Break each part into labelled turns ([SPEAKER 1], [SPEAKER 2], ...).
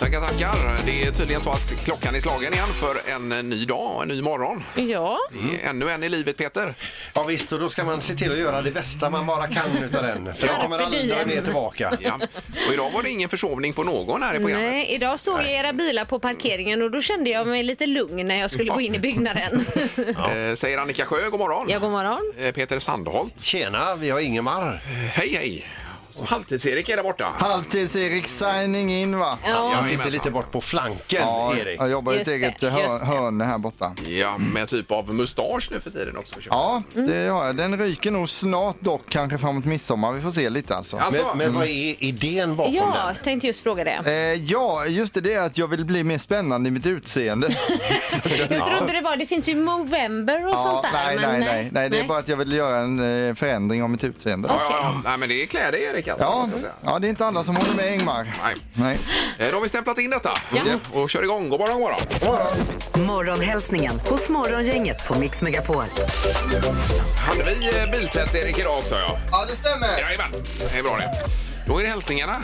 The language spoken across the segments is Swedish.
[SPEAKER 1] Tackar, tackar. Det är tydligen så att klockan är slagen igen för en eh, ny dag och en ny morgon.
[SPEAKER 2] Ja,
[SPEAKER 1] Det är Ännu en i livet, Peter.
[SPEAKER 3] Mm. Ja visst, och då ska man se till att göra det bästa man bara kan utav den. För den kommer aldrig mer tillbaka.
[SPEAKER 1] Ja. Och idag var det ingen försovning på någon här i programmet.
[SPEAKER 2] nej, idag såg jag era bilar på parkeringen och då kände jag mig lite lugn när jag skulle gå in i byggnaden.
[SPEAKER 1] Eh, säger Annika Sjö, god morgon.
[SPEAKER 2] ja, god morgon.
[SPEAKER 1] Eh, Peter Sandholt.
[SPEAKER 3] Tjena, vi har Ingemar.
[SPEAKER 1] Eh, Hej, hej. Och Halvtids-Erik är där borta.
[SPEAKER 4] Halvtids-Erik, signing in va?
[SPEAKER 2] Ja,
[SPEAKER 3] Han sitter lite bort på flanken,
[SPEAKER 4] Ja,
[SPEAKER 3] Erik.
[SPEAKER 4] jag jobbar i ett
[SPEAKER 2] Just
[SPEAKER 4] eget
[SPEAKER 2] det, just
[SPEAKER 4] hör,
[SPEAKER 2] det.
[SPEAKER 4] hörn här borta.
[SPEAKER 1] Ja, med typ av mustasch nu för tiden också.
[SPEAKER 4] Ja,
[SPEAKER 2] Mm.
[SPEAKER 4] det har jag. Den ryker nog snart dock, kanske framåt midsommar. Vi får se lite alltså.
[SPEAKER 1] Alltså,
[SPEAKER 3] Men, men vad är idén bakom
[SPEAKER 2] ja
[SPEAKER 3] den?
[SPEAKER 2] tänkte just fråga det.
[SPEAKER 4] Eh, ja, just det, det är att jag vill bli mer spännande i mitt utseende.
[SPEAKER 2] Jag trodde det var, det finns ju Movember och sånt
[SPEAKER 4] ja,
[SPEAKER 2] där.
[SPEAKER 4] nej,
[SPEAKER 2] men
[SPEAKER 4] nej, nej, nej. Det är bara att jag vill göra en eh, förändring av mitt utseende.
[SPEAKER 1] ja, ja, ja. Nej, men det är kläder, Erik. Alltså,
[SPEAKER 4] Ja,
[SPEAKER 1] måste jag säga.
[SPEAKER 4] ja, det är inte alla som håller med Ingmar.
[SPEAKER 1] Nej.
[SPEAKER 4] Nej.
[SPEAKER 1] Eh, Då har vi stämplat in detta och kör igång. God morgon, god morgon.
[SPEAKER 5] Morgonhälsningen hos Morgongänget på Mix Megapol.
[SPEAKER 1] Hade vi eh, biltvätt, Erik, idag också? Ja.
[SPEAKER 4] Ja, det stämmer.
[SPEAKER 1] Jajamän, det är bra det. Då är det hälsningarna.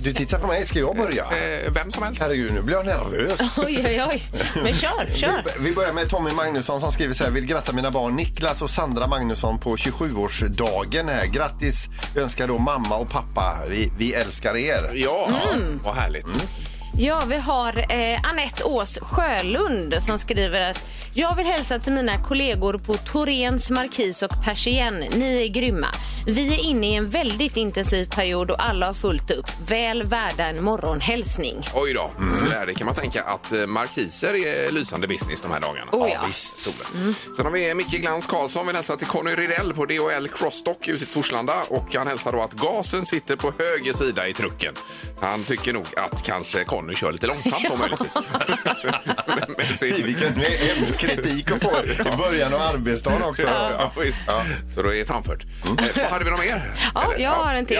[SPEAKER 3] Du tittar på mig, ska jag börja?
[SPEAKER 1] Eh, vem som helst.
[SPEAKER 3] Herregud, nu blir jag nervös.
[SPEAKER 2] Oj, oj, oj. Men kör, kör.
[SPEAKER 3] Vi börjar med Tommy Magnusson som skriver så här. Vill gratta mina barn Niklas och Sandra Magnusson på 27-årsdagen här. Grattis önskar då mamma och pappa. Vi, vi älskar er. Mm.
[SPEAKER 1] Ja,
[SPEAKER 2] Mm.
[SPEAKER 1] vad härligt.
[SPEAKER 2] Ja, vi har eh, Anette Ås Sjölund som skriver att jag vill hälsa till mina kollegor på Torens Markis och Persien. Ni är grymma. Vi är inne i en väldigt intensiv period och alla har fullt upp. Väl värda en morgonhälsning.
[SPEAKER 1] Oj då. Så där, det kan man tänka att eh, markiser är lysande business de här dagarna.
[SPEAKER 2] Oh, ja.
[SPEAKER 1] visst, Solen. Sen har vi Micke Glans Karlsson. Vill hälsa till Conny Rydell på DHL Crossdock ute i Torslanda. Och han hälsar då att gasen sitter på höger sida i trucken. Han tycker nog att kanske Conny kör lite långsamt då möjligtvis. Men- men
[SPEAKER 3] Fy,
[SPEAKER 1] sin-
[SPEAKER 3] Vilken hemsk kritik att få i början av arbetsdagen också. Mm.
[SPEAKER 1] Ja, visst. Så då är det framfört. Eh, vad hade vi någon mer?
[SPEAKER 2] Ja,
[SPEAKER 1] Eller-
[SPEAKER 2] jag har en till.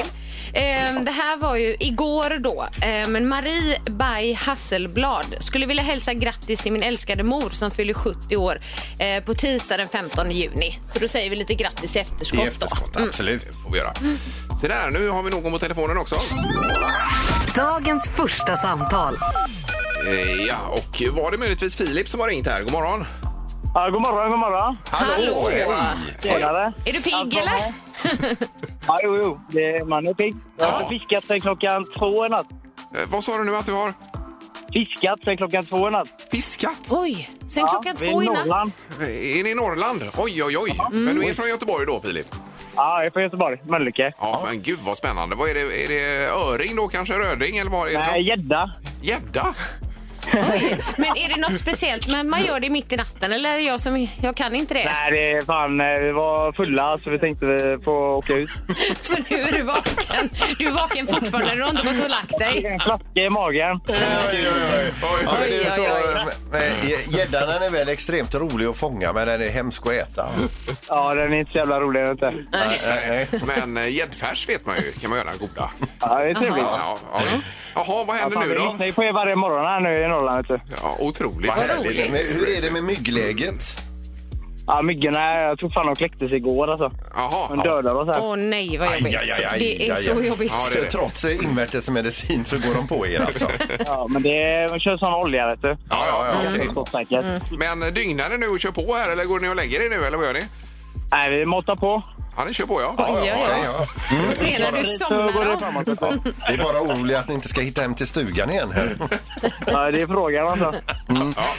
[SPEAKER 1] ja.
[SPEAKER 2] Ehm, Det här var ju igår då. Ehm, Men Marie Bay Hasselblad skulle vilja hälsa grattis till min älskade mor som fyller 70 år eh, på tisdag den 15 juni. Så då säger vi lite grattis i efterskott.
[SPEAKER 3] I efterskott,
[SPEAKER 2] då. Mm.
[SPEAKER 3] absolut.
[SPEAKER 1] Det får vi göra. Se där, nu har vi någon på telefonen också.
[SPEAKER 5] Dagens första samtal.
[SPEAKER 1] Eh, Ja, och var det möjligtvis Filip som har ringt här? God morgon.
[SPEAKER 6] Ja, god morgon, god morgon.
[SPEAKER 2] Hallå!
[SPEAKER 1] Hej.
[SPEAKER 6] Tjenare.
[SPEAKER 2] Är du pigg
[SPEAKER 6] Alltså,
[SPEAKER 2] eller?
[SPEAKER 6] nej. Ja, jo, jo. Det, man är pigg. Jag har
[SPEAKER 1] Ja.
[SPEAKER 6] fiskat sen klockan två i natt.
[SPEAKER 1] Eh, Vad sa du nu att du har
[SPEAKER 6] Fiskat sen klockan två i natt.
[SPEAKER 1] fiskat?
[SPEAKER 2] Oj, sen klockan
[SPEAKER 6] vi är
[SPEAKER 2] två i natt. Mm.
[SPEAKER 6] Norrland.
[SPEAKER 1] Eh, Är ni i Norrland? Oj, oj, oj. Men du är från Göteborg då, Filip?
[SPEAKER 6] Ja, jag är från Göteborg, Mölnlycke.
[SPEAKER 1] Ja, men gud vad spännande. Vad är det? Är det öring då kanske? Röding eller vad är det?
[SPEAKER 6] Nej,
[SPEAKER 1] för-
[SPEAKER 6] gädda.
[SPEAKER 1] Gädda?
[SPEAKER 2] Oj. Men är det något speciellt men man gör det mitt i natten eller är det jag som jag kan inte det?
[SPEAKER 6] Nej, det är fan, eh, vi var fulla så vi tänkte vi får åka ut.
[SPEAKER 2] Så nu är du vaken. Du är vaken fortfarande, du har inte gått och lagt
[SPEAKER 6] Det är
[SPEAKER 2] dig.
[SPEAKER 6] En flaska i magen.
[SPEAKER 3] Oj, oj, oj. Ja, men det är
[SPEAKER 2] Oj,
[SPEAKER 1] eh,
[SPEAKER 2] oj,
[SPEAKER 3] så, men Eh,
[SPEAKER 1] Mm.
[SPEAKER 3] Gäddan den är väl extremt rolig att fånga men den är hemsk att äta.
[SPEAKER 6] Ja, den är inte så jävla rolig. Inte.
[SPEAKER 3] Nej, nej.
[SPEAKER 1] Men eh, gäddfärs vet man ju kan man göra goda.
[SPEAKER 6] Ja, det är trevligt.
[SPEAKER 1] Ja, ja, visst. Jaha, vad
[SPEAKER 6] Ja,
[SPEAKER 1] händer
[SPEAKER 6] fan, vi
[SPEAKER 1] nu då?
[SPEAKER 6] lyssnar ju på er varje morgon här nu i Norrland. Vet du.
[SPEAKER 1] Ja, otroligt.
[SPEAKER 3] Vad härligt. Men hur är det med myggläget?
[SPEAKER 6] Ja, myggorna, jag tror fan de kläcktes igår alltså.
[SPEAKER 1] Jaha.
[SPEAKER 6] De dödade oss här.
[SPEAKER 2] Åh nej vad jobbigt.
[SPEAKER 3] aj, aj, aj,
[SPEAKER 2] det är
[SPEAKER 3] aj,
[SPEAKER 2] så
[SPEAKER 3] aj.
[SPEAKER 2] jobbigt.
[SPEAKER 1] Ja, det är det.
[SPEAKER 3] Trots invärtesmedicin så går de på er alltså.
[SPEAKER 6] Ja, men det, de kör sån olja vet du.
[SPEAKER 1] Ja, ja, ja, okej.
[SPEAKER 6] Så säkert.
[SPEAKER 1] Men eh, dygnar ni nu och kör på här eller går ni och lägger er nu eller vad gör ni?
[SPEAKER 6] Nej, vi matar på.
[SPEAKER 1] Ja, ni kör på ja.
[SPEAKER 2] Oj, oj, oj.
[SPEAKER 3] Okej, ja.
[SPEAKER 2] Och sen när du
[SPEAKER 6] Så går
[SPEAKER 2] somnar
[SPEAKER 6] det
[SPEAKER 2] av.
[SPEAKER 6] framåt. ett tag.
[SPEAKER 3] Vi är bara oroliga att ni inte ska hitta hem till stugan igen. Här. Mm.
[SPEAKER 6] Ja, det är frågan alltså.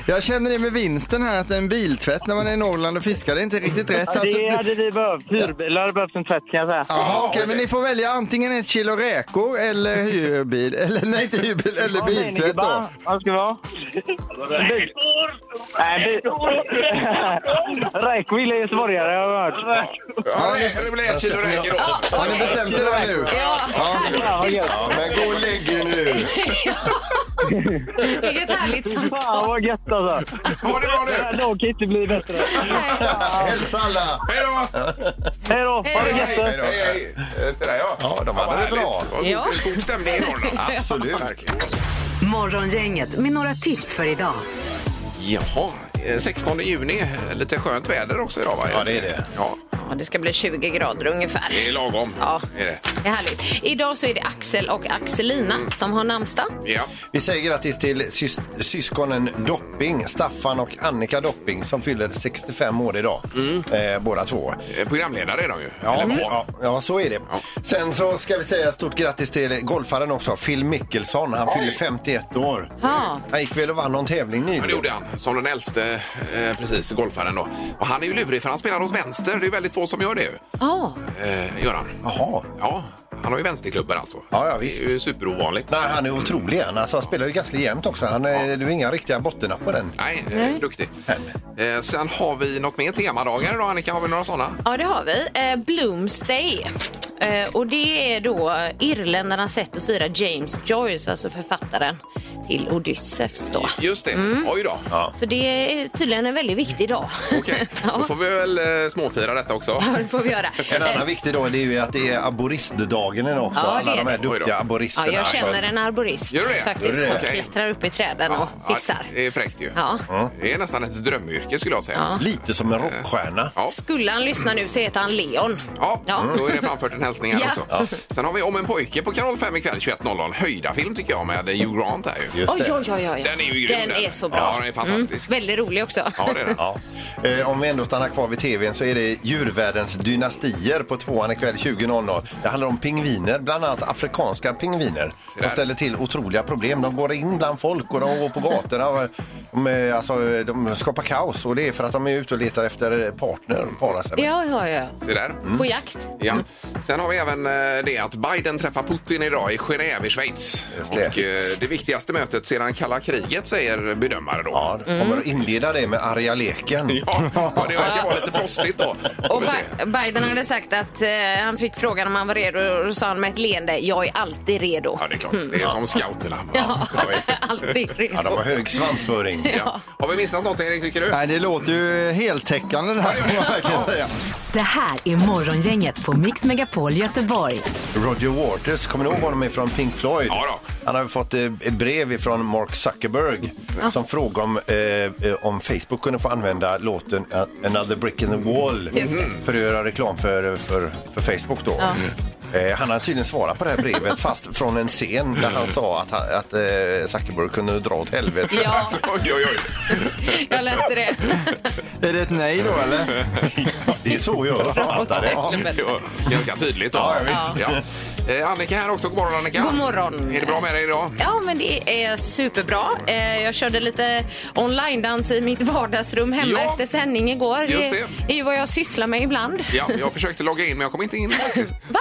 [SPEAKER 4] Jag känner det med vinsten här, att en biltvätt när man är i Norrland och fiskar, det är inte riktigt rätt.
[SPEAKER 6] Ja,
[SPEAKER 4] Alltså,
[SPEAKER 6] det hade vi behövt. Hyrbilar hade behövt en tvätt kan jag säga.
[SPEAKER 4] Jaha, okej, men ni får välja antingen ett kilo räkor eller hyrbil, eller nej inte hyrbil, eller
[SPEAKER 6] Vad säger ni,
[SPEAKER 4] biltvätt
[SPEAKER 6] gubbar?
[SPEAKER 4] då.
[SPEAKER 6] Vad ska vi ha? Bil- Nej, bil- Räkvill är göteborgare har jag hört.
[SPEAKER 1] Ja, det det blir ett kilo räkor då.
[SPEAKER 4] Har ni bestämt er där nu?
[SPEAKER 2] Ja, härligt.
[SPEAKER 3] Ja, men gå och lägg er nu.
[SPEAKER 2] Vilket härligt
[SPEAKER 6] Fan
[SPEAKER 2] samtal.
[SPEAKER 6] vad gött alltså.
[SPEAKER 1] Ha det bra
[SPEAKER 6] Den här
[SPEAKER 1] nu.
[SPEAKER 6] dagen kan inte bli bättre.
[SPEAKER 3] Hälsa alla.
[SPEAKER 1] Hej då!
[SPEAKER 6] Hej då! Ha det
[SPEAKER 2] Hej,
[SPEAKER 6] gött!
[SPEAKER 1] Hej, hej. Eh, Så där ja.
[SPEAKER 3] Ja, de
[SPEAKER 1] vad
[SPEAKER 3] hade det
[SPEAKER 1] härligt.
[SPEAKER 3] bra.
[SPEAKER 1] Vad god-
[SPEAKER 2] Ja.
[SPEAKER 1] God stämning i Norrland.
[SPEAKER 3] Absolut.
[SPEAKER 1] Verkligen.
[SPEAKER 5] Morgongänget med några tips för idag.
[SPEAKER 1] Jaha, eh, 16 juni. Lite skönt väder också idag va?
[SPEAKER 7] Ja, det är det.
[SPEAKER 1] Ja,
[SPEAKER 2] Ja, det ska bli 20 grader ungefär.
[SPEAKER 1] det är lagom.
[SPEAKER 2] Ja.
[SPEAKER 1] Är det.
[SPEAKER 2] Det är härligt. Idag så är det Axel och Axelina som har namnsdag.
[SPEAKER 1] Ja.
[SPEAKER 3] Vi säger grattis till sys- syskonen Dopping, Staffan och Annika Dopping som fyller 65 år idag, eh, båda två.
[SPEAKER 1] Eh, Programledare är de ju.
[SPEAKER 3] Ja,
[SPEAKER 1] Eller var.
[SPEAKER 3] ja, ja, så är det. Sen så ska vi säga stort grattis till golfaren också, Phil Mickelson. Han fyller 51 år.
[SPEAKER 2] Ja.
[SPEAKER 3] Han gick väl och vann någon tävling
[SPEAKER 1] Ja, det
[SPEAKER 3] nyligen.
[SPEAKER 1] gjorde han, som den äldste eh, precis golfaren då. Och han är ju lurig för han spelar åt vänster. Det är väldigt få som gör det ju.
[SPEAKER 2] Ja.
[SPEAKER 1] Eh, gör han.
[SPEAKER 3] Jaha.
[SPEAKER 1] Ja, han har ju vänsterklubben alltså.
[SPEAKER 3] Ja, ja, visst.
[SPEAKER 1] Det är ju superovanligt.
[SPEAKER 3] Nej, han är otrolig. Han, alltså, han spelar ju ganska jämnt också. Han är, Det är inga riktiga bottennapp på den.
[SPEAKER 1] Nej, Nej. duktig. Eh, sen har vi något mer temadagar idag Annika, har vi några sådana?
[SPEAKER 2] ja, det har vi. Eh, Bloomsday. Eh, och det är då irländarnas sätt att fira James Joyce, alltså författaren till Odysseus då.
[SPEAKER 1] Just det,
[SPEAKER 2] Mm.
[SPEAKER 1] oj då.
[SPEAKER 2] Så det är tydligen en väldigt viktig dag.
[SPEAKER 1] Okej, då
[SPEAKER 2] ja,
[SPEAKER 1] får vi väl eh, småfira detta också.
[SPEAKER 2] det får vi göra.
[SPEAKER 3] En
[SPEAKER 2] Eh,
[SPEAKER 3] annan viktig dag det är ju att det är aboristdagen idag också.
[SPEAKER 2] Ja, det
[SPEAKER 3] Alla
[SPEAKER 2] är
[SPEAKER 3] de här
[SPEAKER 2] det.
[SPEAKER 1] Oj då.
[SPEAKER 3] duktiga aboristerna.
[SPEAKER 2] Ja, jag känner
[SPEAKER 3] Så-
[SPEAKER 2] en arborist
[SPEAKER 1] Gör du det?
[SPEAKER 2] faktiskt
[SPEAKER 1] Gör du
[SPEAKER 2] som
[SPEAKER 1] det?
[SPEAKER 2] klättrar upp i träden och fixar.
[SPEAKER 1] det är fräckt ju.
[SPEAKER 2] Ja.
[SPEAKER 1] Det är nästan ett drömyrke skulle jag säga.
[SPEAKER 3] Lite som en rockstjärna.
[SPEAKER 1] Ja.
[SPEAKER 2] Skulle han lyssna nu så heter han Leon.
[SPEAKER 1] Ja,
[SPEAKER 2] Ja.
[SPEAKER 1] Mm. då är det framfört en hälsning här
[SPEAKER 2] Ja.
[SPEAKER 1] också. Sen har vi Om en pojke på Kanal 5 ikväll 21.00. Höjdarfilm tycker jag med Hugh Grant här ju.
[SPEAKER 3] Just
[SPEAKER 2] Oj,
[SPEAKER 3] det.
[SPEAKER 2] oj, oj, oj.
[SPEAKER 1] Den är ju grym,
[SPEAKER 2] Den
[SPEAKER 1] den.
[SPEAKER 2] är så bra.
[SPEAKER 1] Ja, den är fantastisk.
[SPEAKER 2] väldigt rolig också.
[SPEAKER 1] Ja, det är det.
[SPEAKER 3] Ja. Eh, Om vi ändå stannar kvar vid tvn så är det djurvärldens dynastier på tvåan ikväll 20.00. Det handlar om pingviner, bland annat afrikanska pingviner.
[SPEAKER 1] där.
[SPEAKER 3] De ställer till otroliga problem. De går in bland folk och de går på gatorna. Och de, eh, alltså, de skapar kaos och det är för att de är ute och letar efter partner och parar sig med.
[SPEAKER 2] Ja, ja, ja.
[SPEAKER 1] Se där.
[SPEAKER 2] På jakt.
[SPEAKER 1] Mm. Ja. Sen har vi även eh, det att Biden träffar Putin idag i Genève i Schweiz.
[SPEAKER 3] Just
[SPEAKER 1] Det.
[SPEAKER 3] det.
[SPEAKER 1] Och eh, det viktigaste mötet sedan kalla kriget säger bedömare då.
[SPEAKER 3] Ja, de
[SPEAKER 2] Mm.
[SPEAKER 3] kommer att inleda det med arga leken.
[SPEAKER 1] Ja, ja, det verkar vara lite frostigt då. Får
[SPEAKER 2] Och
[SPEAKER 1] vi se.
[SPEAKER 2] Bi- Biden hade sagt att eh, han fick frågan om han var redo och då sa han med ett leende, jag är alltid redo. Mm.
[SPEAKER 1] Ja, det är klart. Det är som scouterna.
[SPEAKER 2] Ja, alltid
[SPEAKER 3] Ja, de
[SPEAKER 2] redo.
[SPEAKER 3] har hög svansföring.
[SPEAKER 1] Ja. Har vi missat något, Erik, tycker du?
[SPEAKER 4] Nej, det låter ju heltäckande det här kan jag verkligen säga.
[SPEAKER 5] Det här är Morgongänget på Mix Megapol Göteborg.
[SPEAKER 3] Roger Waters, kommer ni ihåg honom ifrån Pink Floyd?
[SPEAKER 1] Ja då.
[SPEAKER 3] Han har fått eh, ett brev ifrån Mark Zuckerberg som frågade om, eh, eh, om Facebook kunde få använda låten eh, Another Brick in the Wall
[SPEAKER 2] Just det.
[SPEAKER 1] Mm.
[SPEAKER 3] för att göra reklam för, för, för Facebook då. Eh, Han har tydligen svarat på det här brevet fast från en scen där han sa att, han- att eh, Zuckerberg kunde dra åt helvete.
[SPEAKER 2] Ja,
[SPEAKER 1] Alltså, Oj, oj, oj.
[SPEAKER 2] jag läste det.
[SPEAKER 4] Är det ett nej då
[SPEAKER 3] Mm.
[SPEAKER 4] eller?
[SPEAKER 3] Det är så jag uppfattar det.
[SPEAKER 2] Åt helvete.
[SPEAKER 1] Det var ganska tydligt då.
[SPEAKER 3] Ja,
[SPEAKER 1] Ja. Eh, Annika här också. God morgon, Annika.
[SPEAKER 2] God morgon.
[SPEAKER 1] Är det bra med dig idag?
[SPEAKER 2] Ja, men det är superbra. Eh, Jag körde lite online-dans i mitt vardagsrum hemma
[SPEAKER 1] Ja.
[SPEAKER 2] efter sändning igår.
[SPEAKER 1] Just det.
[SPEAKER 2] är ju vad jag sysslar med ibland.
[SPEAKER 1] Ja, jag försökte logga in, men jag kom inte in faktiskt.
[SPEAKER 2] Va?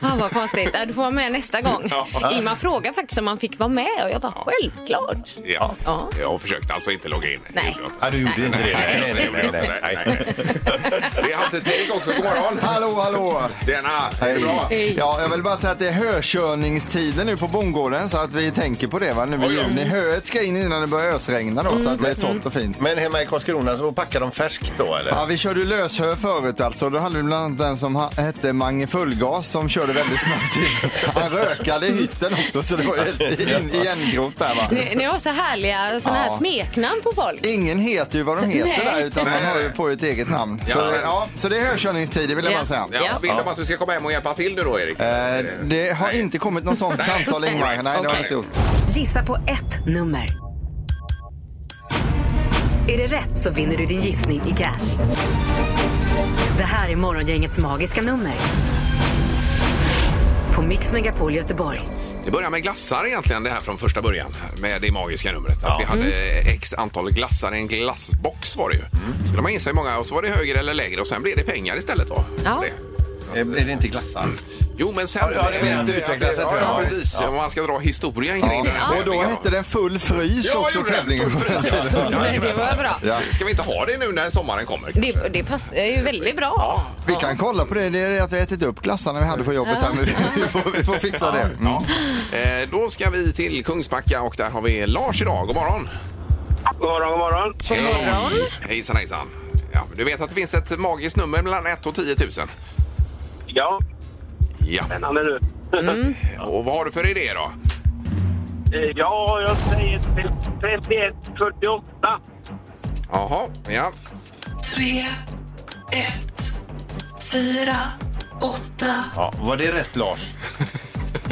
[SPEAKER 2] Ah, vad konstigt. Ja, Du får vara med nästa gång.
[SPEAKER 1] Ja.
[SPEAKER 2] Ingmar frågade faktiskt om man fick vara med och jag bara självklart.
[SPEAKER 1] Ja.
[SPEAKER 2] Ja.
[SPEAKER 1] Jag försökte alltså inte logga in.
[SPEAKER 2] Nej.
[SPEAKER 3] Ja, du gjorde inte det. Nej, nej, nej. nej, nej.
[SPEAKER 1] Vi har haft ett Erik också. God morgon.
[SPEAKER 4] Hallå, hallå!
[SPEAKER 1] Tjena! Är det bra?
[SPEAKER 2] Hej.
[SPEAKER 4] Ja, jag vill bara säga att det är hökörningstider nu på bondgården så att vi tänker på det va, nu i
[SPEAKER 1] Oj, ja.
[SPEAKER 4] juni. Höet ska in innan det börjar ösregna då så
[SPEAKER 3] Mm.
[SPEAKER 4] att det är torrt och fint.
[SPEAKER 3] Men hemma i Karlskrona så packar de färskt då eller?
[SPEAKER 4] Ja, vi körde ju löshö förut alltså. Då hade vi bland annat den som ha- hette Mange Fullgas som körde väldigt snabbt. in. Han rökade i hytten också så det var helt in- igengrott där va.
[SPEAKER 2] Ni, ni har så härliga såna här
[SPEAKER 4] Ja.
[SPEAKER 2] smeknamn på folk.
[SPEAKER 4] Ingen heter ju vad de heter
[SPEAKER 2] Nej.
[SPEAKER 4] där utan man har ju, får ju ett eget namn. Så,
[SPEAKER 1] Ja.
[SPEAKER 4] ja, så det är hökörningstider vill jag
[SPEAKER 2] Ja.
[SPEAKER 4] bara säga.
[SPEAKER 1] Ja, vill de att du ska komma hem och hjälpa till nu då, Erik?
[SPEAKER 4] Eh, det har inte kommit något sånt samtal in. Nej, det har
[SPEAKER 1] Okej.
[SPEAKER 4] inte gjort.
[SPEAKER 5] Gissa på ett nummer. Är det rätt så vinner du din gissning i cash. Det här är Morgongängets magiska nummer. På Mix Megapol Göteborg.
[SPEAKER 1] Det börjar med glassar egentligen, det här från första början. Med det magiska numret. Att vi hade x antal glassar i en glassbox var det ju. Mm. Man gissar hur många och så var det högre eller lägre och sen blev det pengar istället då.
[SPEAKER 2] Ja.
[SPEAKER 1] Det. Mm.
[SPEAKER 3] Eh, Blir det inte glassar?
[SPEAKER 1] Jo, men sen...
[SPEAKER 3] Ja, ja, det är efter utvecklat sätt,
[SPEAKER 1] Ja, ja,
[SPEAKER 3] ja.
[SPEAKER 1] precis. Om man ska dra historien kring den här
[SPEAKER 4] Och då
[SPEAKER 1] tävlingen,
[SPEAKER 4] hette den Full frys
[SPEAKER 1] Ja,
[SPEAKER 4] också
[SPEAKER 1] gjorde den.
[SPEAKER 4] tävlingen.
[SPEAKER 1] Full frys, ja.
[SPEAKER 2] Men det var bra.
[SPEAKER 4] Ja.
[SPEAKER 1] Ska vi inte ha det nu när sommaren kommer?
[SPEAKER 2] Det, det passar ju väldigt bra.
[SPEAKER 4] Vi kan kolla på det. Det är det att vi har ätit upp glassarna vi hade på jobbet här. Men vi, får, vi får fixa det. Mm.
[SPEAKER 1] Ja. Eh, Då ska vi till Kungsbacka och där har vi Lars idag. God morgon!
[SPEAKER 6] God morgon, god morgon.
[SPEAKER 1] God morgon! Hejsan hejsan! Ja, du vet att det finns ett magiskt nummer mellan 1 och 10 000?
[SPEAKER 6] Ja,
[SPEAKER 1] Ja.
[SPEAKER 6] spännande du.
[SPEAKER 1] Och vad har du för idé då?
[SPEAKER 6] Ja, jag säger 31, 48.
[SPEAKER 1] Jaha, ja.
[SPEAKER 7] 3, 1, 4, 8,
[SPEAKER 3] Ja, var det rätt Lars?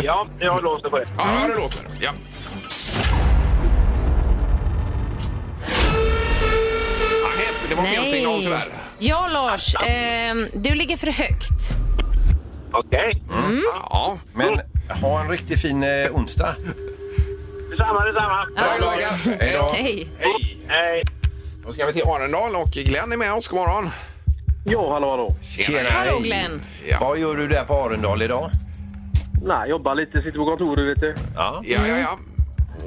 [SPEAKER 6] Ja, jag låser på det.
[SPEAKER 1] Ja, det låter. Ja. Nej, Det var fel signal tyvärr.
[SPEAKER 2] Ja, Lars. ehm, du ligger för högt.
[SPEAKER 6] Okej.
[SPEAKER 1] Ja.
[SPEAKER 3] Mm. Men ha en riktigt fin eh, onsdag.
[SPEAKER 6] Detsamma, detsamma.
[SPEAKER 1] Bra dagar. Hej då.
[SPEAKER 2] Hej.
[SPEAKER 6] Hej. Hej.
[SPEAKER 1] Då ska vi till Arendal och Glenn är med oss. God morgon.
[SPEAKER 6] Ja, hallå, hallå.
[SPEAKER 3] Tjena.
[SPEAKER 2] Hallå,
[SPEAKER 3] hej.
[SPEAKER 2] Glenn.
[SPEAKER 3] Vad gör du där på Arendal idag?
[SPEAKER 6] Nej, jobbar lite, sitter på kontoret lite.
[SPEAKER 3] Ja.
[SPEAKER 1] Ja, ja, ja.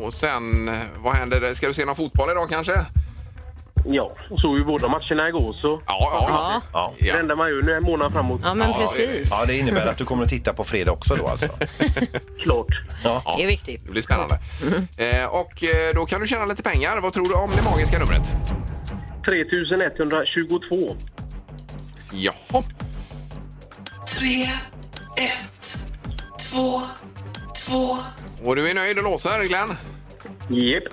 [SPEAKER 1] Och sen, eh, vad händer? det? Ska du se någon fotboll idag kanske?
[SPEAKER 6] Ja, såg ju båda matcherna igår så.
[SPEAKER 1] Ja,
[SPEAKER 2] Ja.
[SPEAKER 3] Ja.
[SPEAKER 1] ja.
[SPEAKER 6] Det
[SPEAKER 1] ja.
[SPEAKER 6] enda man gör nu är en månad framåt.
[SPEAKER 2] Ja, men
[SPEAKER 1] Ja,
[SPEAKER 2] precis.
[SPEAKER 3] ja, det innebär att du kommer att titta på fredag också då alltså.
[SPEAKER 6] Klart.
[SPEAKER 3] Ja.
[SPEAKER 2] Det är viktigt.
[SPEAKER 1] Det blir spännande. Eh, och eh, då kan du tjäna lite pengar. Vad tror du om det magiska numret?
[SPEAKER 6] 3122.
[SPEAKER 1] Jaha.
[SPEAKER 7] 3, 1, 2, 2,
[SPEAKER 1] Och du är nöjd och låser, Glenn? Mm.
[SPEAKER 6] Japp.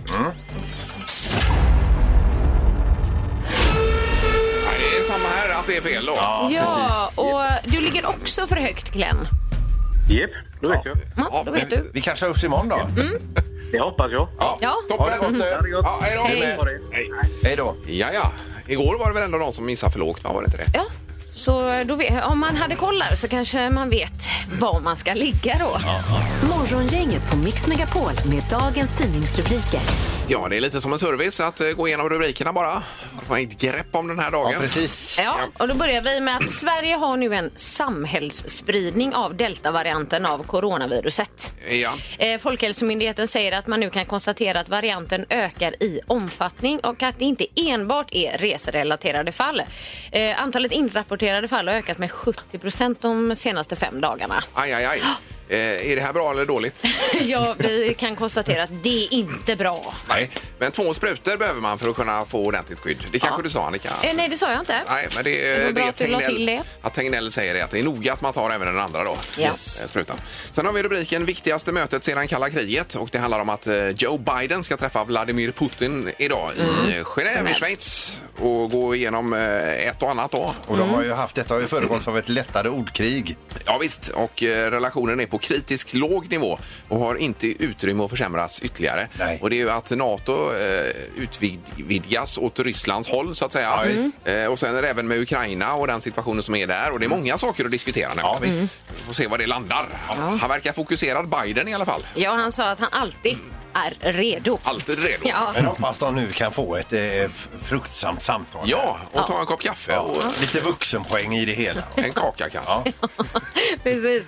[SPEAKER 1] Nej, det är samma här, att det är fel då.
[SPEAKER 2] Ja, och du ligger också för högt, Glenn.
[SPEAKER 6] Japp, då vet jag.
[SPEAKER 2] Ja, då vet du. Mm.
[SPEAKER 3] Vi kanske hörs imorgon då.
[SPEAKER 6] Det hoppas jag.
[SPEAKER 1] Ja,
[SPEAKER 2] Ja.
[SPEAKER 3] Ha
[SPEAKER 1] Toppen.
[SPEAKER 3] det gott nu.
[SPEAKER 6] gott.
[SPEAKER 1] Ja, hej då.
[SPEAKER 2] Hej.
[SPEAKER 6] Ha det.
[SPEAKER 3] Hej då.
[SPEAKER 1] Ja, ja. Igår var det väl ändå någon som missade för lågt, va? Var det inte det?
[SPEAKER 2] Ja, så då vet, om man hade koll där så kanske man vet var man ska ligga då.
[SPEAKER 5] Morgongänget på Mix Megapol med dagens tidningsrubriker.
[SPEAKER 1] Ja, det är lite som en service att eh, gå igenom rubrikerna bara. Man får ett grepp om den här dagen.
[SPEAKER 3] Ja, precis.
[SPEAKER 2] Ja, och då börjar vi med att Sverige har nu en samhällsspridning av deltavarianten av coronaviruset.
[SPEAKER 1] Ja.
[SPEAKER 2] Eh, Folkhälsomyndigheten säger att man nu kan konstatera att varianten ökar i omfattning och att det inte enbart är reserelaterade fall. Eh, Antalet inrapporterade fall har ökat med 70 procent de senaste fem dagarna.
[SPEAKER 1] Aj, aj, aj. Eh, är det här bra eller dåligt?
[SPEAKER 2] Ja, vi kan konstatera att det är inte bra.
[SPEAKER 1] Nej. Men två sprutor behöver man för att kunna få ordentligt skydd. Det kanske du sa, Annika?
[SPEAKER 2] Eh, nej, det sa jag inte.
[SPEAKER 1] Nej, men det,
[SPEAKER 2] Det var bra att du la
[SPEAKER 1] Tegnell-
[SPEAKER 2] till det.
[SPEAKER 1] Att Tegnell säger det, att det är noga att man tar även den andra då.
[SPEAKER 2] Ja.
[SPEAKER 1] eh, Sprutan. Sen har vi rubriken Viktigaste mötet sedan kalla kriget och det handlar om att eh, Joe Biden ska träffa Vladimir Putin idag
[SPEAKER 2] Mm.
[SPEAKER 1] i eh, Genève i Schweiz och gå igenom eh, ett och annat då.
[SPEAKER 3] Och de har
[SPEAKER 2] Mm.
[SPEAKER 3] ju haft, detta har ju föregåtts av ett lättare ordkrig.
[SPEAKER 1] Ja visst, och eh, relationen är på kritisk låg nivå och har inte utrymme att försämras ytterligare.
[SPEAKER 3] Nej.
[SPEAKER 1] Och det är ju att NATO eh, utvidgas åt Rysslands håll så att säga. Eh, och sen är det även med Ukraina och den situationen som är där. Och det är många saker att diskutera nu. Mm. Ja, visst. Vi får se var det landar. Han verkar fokuserad, Biden i alla fall.
[SPEAKER 2] Ja, han sa att han alltid är redo.
[SPEAKER 1] Alltid redo.
[SPEAKER 2] Ja,
[SPEAKER 3] Men hoppas de nu kan få ett eh, f- fruktsamt samtal.
[SPEAKER 1] Ja, och ta en kopp kaffe och
[SPEAKER 3] Lite vuxenpoäng i det hela.
[SPEAKER 1] en kaka kanske.
[SPEAKER 3] Ja.
[SPEAKER 2] precis.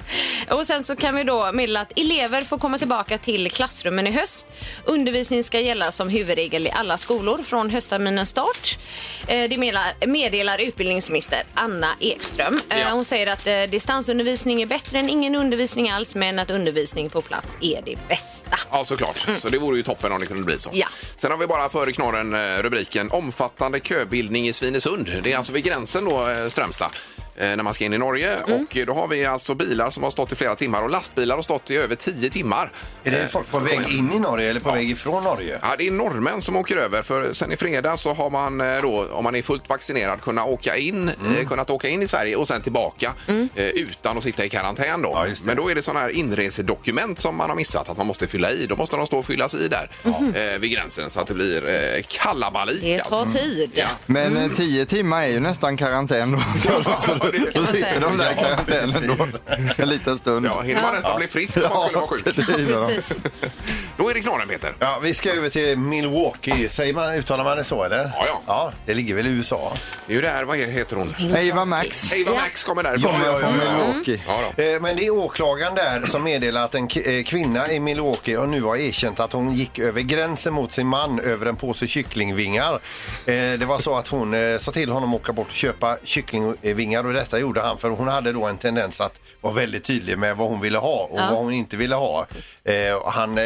[SPEAKER 2] Och sen så kan vi då meddela att elever får komma tillbaka till klassrummen i höst. Undervisning ska gälla som huvudregel i alla skolor från höstterminens start. Eh, Det meddelar, meddelar utbildningsminister Anna Ekström. Eh,
[SPEAKER 1] Ja.
[SPEAKER 2] Hon säger att eh, distansundervisning är bättre än ingen undervisning alls, men att undervisning på plats är det bästa.
[SPEAKER 1] Ja, såklart. Så det vore ju toppen om det kunde bli så.
[SPEAKER 2] Ja.
[SPEAKER 1] Sen har vi bara före knorren eh, rubriken Omfattande köbildning i Svinesund. Det är alltså vid gränsen då, eh, Strömstad, eh, när man ska in i Norge. Och eh, då har vi alltså bilar som har stått i flera timmar och lastbilar har stått i över tio timmar. Eh,
[SPEAKER 3] Är det folk på väg in i Norge eller på väg ifrån Norge?
[SPEAKER 1] Ja, det är norrmän som åker över för sen i fredag så har man eh, då, om man är fullt vaccinerad, kunnat åka in,
[SPEAKER 3] Mm.
[SPEAKER 1] eh, kunnat åka in i Sverige och sen tillbaka
[SPEAKER 2] Mm.
[SPEAKER 1] eh, utan att sitta i karantän då.
[SPEAKER 3] Ja, just det.
[SPEAKER 1] Men då är det sådana här inresedokument som man har missat att man måste fylla i. Då måste de stå och fyllas i där
[SPEAKER 2] Mm-hmm.
[SPEAKER 1] eh, vid gränsen så att det blir eh, kalabalik.
[SPEAKER 2] Det tar tid.
[SPEAKER 1] Ja.
[SPEAKER 4] Men
[SPEAKER 2] Mm.
[SPEAKER 4] eh, tio timmar är ju nästan karantän då. så då, då sitter de där i karantänen då en liten stund.
[SPEAKER 1] Ja, hinner man nästan bli frisk om man skulle vara sjuk.
[SPEAKER 4] det gillar de.
[SPEAKER 2] Precis.
[SPEAKER 1] Då är det knorren, Peter.
[SPEAKER 3] Ja, vi ska över till Milwaukee. Säger man, uttalar man det så eller?
[SPEAKER 1] Ja, ja.
[SPEAKER 3] det ligger väl i USA.
[SPEAKER 1] Det är ju det här, vad heter hon?
[SPEAKER 4] Eva Max.
[SPEAKER 1] Eva Max kommer därifrån.
[SPEAKER 3] Ja, ja, ja,
[SPEAKER 4] Från
[SPEAKER 3] ja.
[SPEAKER 4] Milwaukee.
[SPEAKER 1] Ja, då.
[SPEAKER 3] Eh, Men det är åklagaren där som meddelar att en k- eh, kvinna i Milwaukee har nu har erkänt att hon gick över gränsen mot sin man över en påse kycklingvingar. Eh, Det var så att hon eh, sa till honom att åka bort och köpa kycklingvingar och detta gjorde han för hon hade då en tendens att vara väldigt tydlig med vad hon ville ha och vad hon inte ville ha. Eh, och Han eh,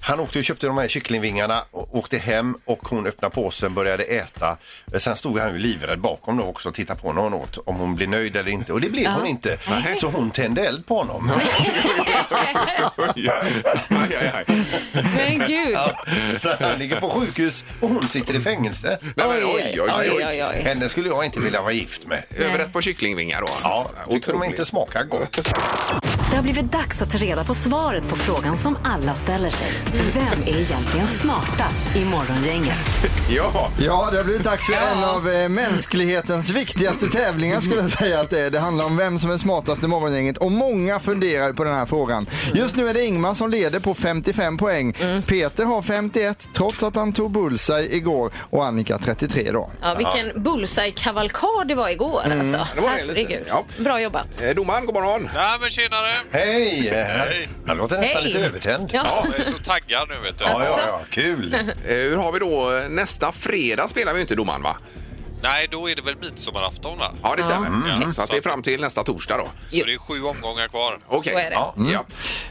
[SPEAKER 3] Han åkte och köpte de här kycklingvingarna, och åkte hem och hon öppnade påsen, började äta. Eh, Sen stod han ju livrädd bakom då också och tittade på när hon åt, om hon blev nöjd eller inte. Och det blev hon inte. Så hon tände eld på honom.
[SPEAKER 1] Oj, aj, aj, aj.
[SPEAKER 2] Men gud.
[SPEAKER 3] Ja, så han ligger på sjukhus och hon sitter i fängelse.
[SPEAKER 1] Nej, men oj, oj, oj.
[SPEAKER 2] oj, oj, oj.
[SPEAKER 3] Henne skulle jag inte vilja vara gift med.
[SPEAKER 1] Överrätt på kycklingvingar då.
[SPEAKER 3] Ja, tyckte de inte smakar gott.
[SPEAKER 5] Det har blivit dags att ta reda på svaret på frågan som alla ställer sig. Vem är egentligen smartast i Morgongänget?
[SPEAKER 1] Ja,
[SPEAKER 4] Ja, det har blivit dags för en av eh, mänsklighetens viktigaste tävlingar skulle jag säga att det är. Det handlar om vem som är smartast i morgongänget och många funderar på den här frågan. Just nu är det Ingmar som leder på 55 poäng.
[SPEAKER 2] Mm.
[SPEAKER 4] Peter har 51 trots att han tog bullseye igår och Annika 33 då.
[SPEAKER 2] Ja, vilken bullseye-kavalkad det var igår. Alltså.
[SPEAKER 1] det var det lite.
[SPEAKER 2] Herregud.
[SPEAKER 1] Ja.
[SPEAKER 2] Bra jobbat.
[SPEAKER 1] eh, domaren, god morgon.
[SPEAKER 8] Nej men tjenare!
[SPEAKER 3] Hej! Hej. Han låter nästan
[SPEAKER 2] Hej.
[SPEAKER 3] lite övertänd.
[SPEAKER 2] Ja. Alltså.
[SPEAKER 8] Jag är så taggad nu vet du.
[SPEAKER 3] Ja, ja, ja, kul!
[SPEAKER 1] Eh, Hur har vi då? Eh, Nästa fredag spelar vi ju inte domaren va?
[SPEAKER 8] Nej, då är det väl midsommarafton va?
[SPEAKER 1] Ja, det stämmer.
[SPEAKER 8] Mm.
[SPEAKER 1] Så att det är fram till nästa torsdag då.
[SPEAKER 8] Så det är sju omgångar kvar.
[SPEAKER 1] Okej.
[SPEAKER 2] Så är det.
[SPEAKER 1] Ja. Ja.
[SPEAKER 4] Mm.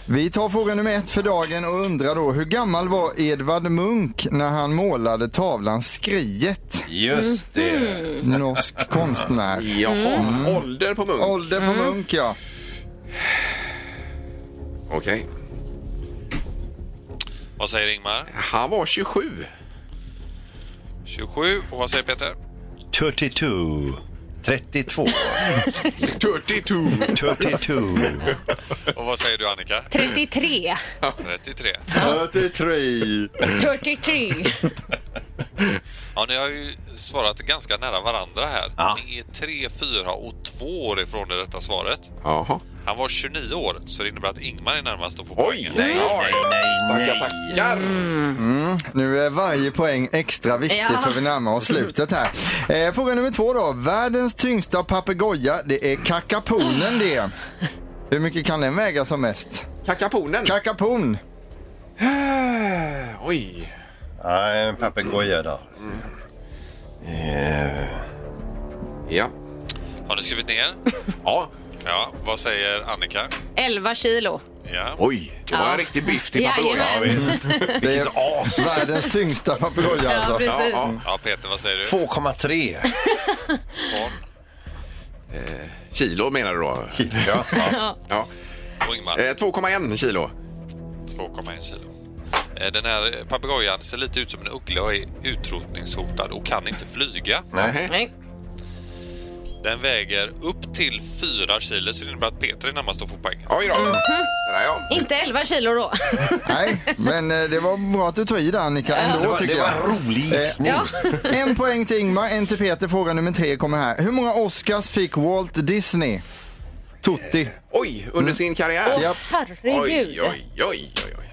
[SPEAKER 4] Vi tar fråga nummer ett för dagen och undrar då hur gammal var Edvard Munch när han målade tavlan Skriet? Mm-hmm.
[SPEAKER 3] Just det.
[SPEAKER 4] Norsk konstnär.
[SPEAKER 1] Jaha, Mm. ålder på Munk.
[SPEAKER 4] Mm.
[SPEAKER 1] Mm.
[SPEAKER 4] Ålder på Munch ja.
[SPEAKER 1] Okej.
[SPEAKER 8] Vad säger Ingmar?
[SPEAKER 1] Han var 27.
[SPEAKER 8] 27. Och vad säger Peter?
[SPEAKER 3] 32. 32.
[SPEAKER 1] 32.
[SPEAKER 3] 32.
[SPEAKER 8] Och vad säger du Annika?
[SPEAKER 2] 33.
[SPEAKER 8] 33.
[SPEAKER 4] 33.
[SPEAKER 2] 33.
[SPEAKER 8] Ja, ni har ju svarat ganska nära varandra här.
[SPEAKER 3] Ja.
[SPEAKER 8] Ni är 3, 4 och 2 år ifrån det rätta svaret.
[SPEAKER 1] Jaha.
[SPEAKER 8] Han var 29 år, så det innebär att Ingmar är närmast och får
[SPEAKER 1] Oj!
[SPEAKER 8] poängen.
[SPEAKER 1] Nej, nej, nej. Tackar, tackar.
[SPEAKER 4] Mm. Nu är varje poäng extra viktig
[SPEAKER 2] Ja.
[SPEAKER 4] för vi närmar oss slutet här. Eh, fråga nummer två då. Världens tyngsta papegoja, det är kakaponen det. Hur mycket kan den väga som mest?
[SPEAKER 1] Kakaponen. Äh.
[SPEAKER 4] Kakapon.
[SPEAKER 1] Oj.
[SPEAKER 3] Nej, en papegoja då.
[SPEAKER 1] Ja.
[SPEAKER 8] Har ni skrivit ner?
[SPEAKER 1] Ja.
[SPEAKER 8] Ja, vad säger Annika?
[SPEAKER 2] 11 kilo.
[SPEAKER 8] Ja.
[SPEAKER 1] Oj, det var en riktig biff till papegojan.
[SPEAKER 2] Jajamän.
[SPEAKER 4] Det är världens tyngsta papegoja
[SPEAKER 2] Ja,
[SPEAKER 4] alltså.
[SPEAKER 1] Ja,
[SPEAKER 2] precis.
[SPEAKER 1] ja.
[SPEAKER 8] Ja, Peter, vad säger du?
[SPEAKER 3] 2,3.
[SPEAKER 1] Eh, Kilo menar du då?
[SPEAKER 3] Ja.
[SPEAKER 1] Ja.
[SPEAKER 8] Och Ingmar?
[SPEAKER 1] Eh, 2,1 kilo.
[SPEAKER 8] 2,1 kilo. Eh, Den här papegojan ser lite ut som en uggla och är utrotningshotad och kan inte flyga.
[SPEAKER 3] Nej.
[SPEAKER 2] Nej.
[SPEAKER 8] Den väger upp till 4 kilo så det innebär att Peter är närmast att få poängen.
[SPEAKER 1] Oj då. Sådär ja.
[SPEAKER 2] Inte 11 kilo då.
[SPEAKER 4] Nej, men eh, det var bra att du tog i det Annika
[SPEAKER 3] Det
[SPEAKER 4] ändå
[SPEAKER 3] var,
[SPEAKER 4] tycker
[SPEAKER 3] det var
[SPEAKER 4] jag. Eh,
[SPEAKER 3] en rolig gissning.
[SPEAKER 2] Ja.
[SPEAKER 4] En poäng till Ingmar, en till Peter. Fråga nummer tre kommer här. Hur många Oscars fick Walt Disney? Tutti.
[SPEAKER 1] Oj, under sin karriär.
[SPEAKER 4] Japp.
[SPEAKER 2] Herregud.
[SPEAKER 1] Oj, oj, oj, oj, oj.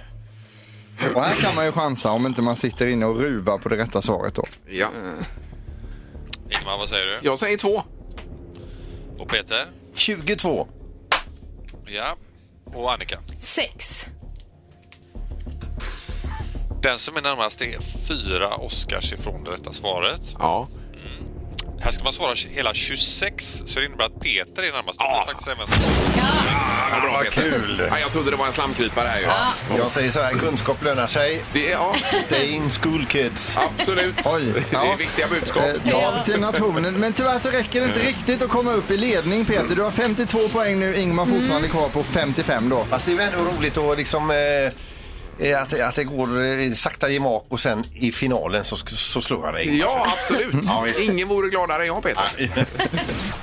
[SPEAKER 4] Och här kan man ju chansa om inte man sitter inne och ruvar på det rätta svaret då.
[SPEAKER 1] Ja.
[SPEAKER 8] Ingmar, vad säger du?
[SPEAKER 1] Jag säger två.
[SPEAKER 8] Och Peter?
[SPEAKER 3] 22.
[SPEAKER 8] Ja. Och Annika?
[SPEAKER 2] 6.
[SPEAKER 8] Den som är närmast är fyra Oscars ifrån det rätta svaret.
[SPEAKER 1] Ja.
[SPEAKER 8] Här ska man svara hela 26 så det innebär att Peter är närmast.
[SPEAKER 1] Ah.
[SPEAKER 8] Det är faktiskt även-
[SPEAKER 1] ja bra, Peter. kul. Ja, jag trodde det var en slamkrypare här ju.
[SPEAKER 3] Jag säger så här, kunskap lönar sig.
[SPEAKER 1] Det är, ja,
[SPEAKER 3] Stay in school kids.
[SPEAKER 1] absolut.
[SPEAKER 4] Oj,
[SPEAKER 1] Det
[SPEAKER 4] ja.
[SPEAKER 1] är viktiga budskap.
[SPEAKER 4] Eh, tal till nationen. Men tyvärr så räcker det inte riktigt att komma upp i ledning Peter. Du har 52 poäng nu, Ingmar fortfarande kvar på 55 då.
[SPEAKER 3] Fast det är ju ändå roligt att liksom... Eh, eh, att, att det går eh, sakta i mak och sen i finalen så, så slår jag dig.
[SPEAKER 1] Ja, absolut. Ingen vore gladare än jag, Peter.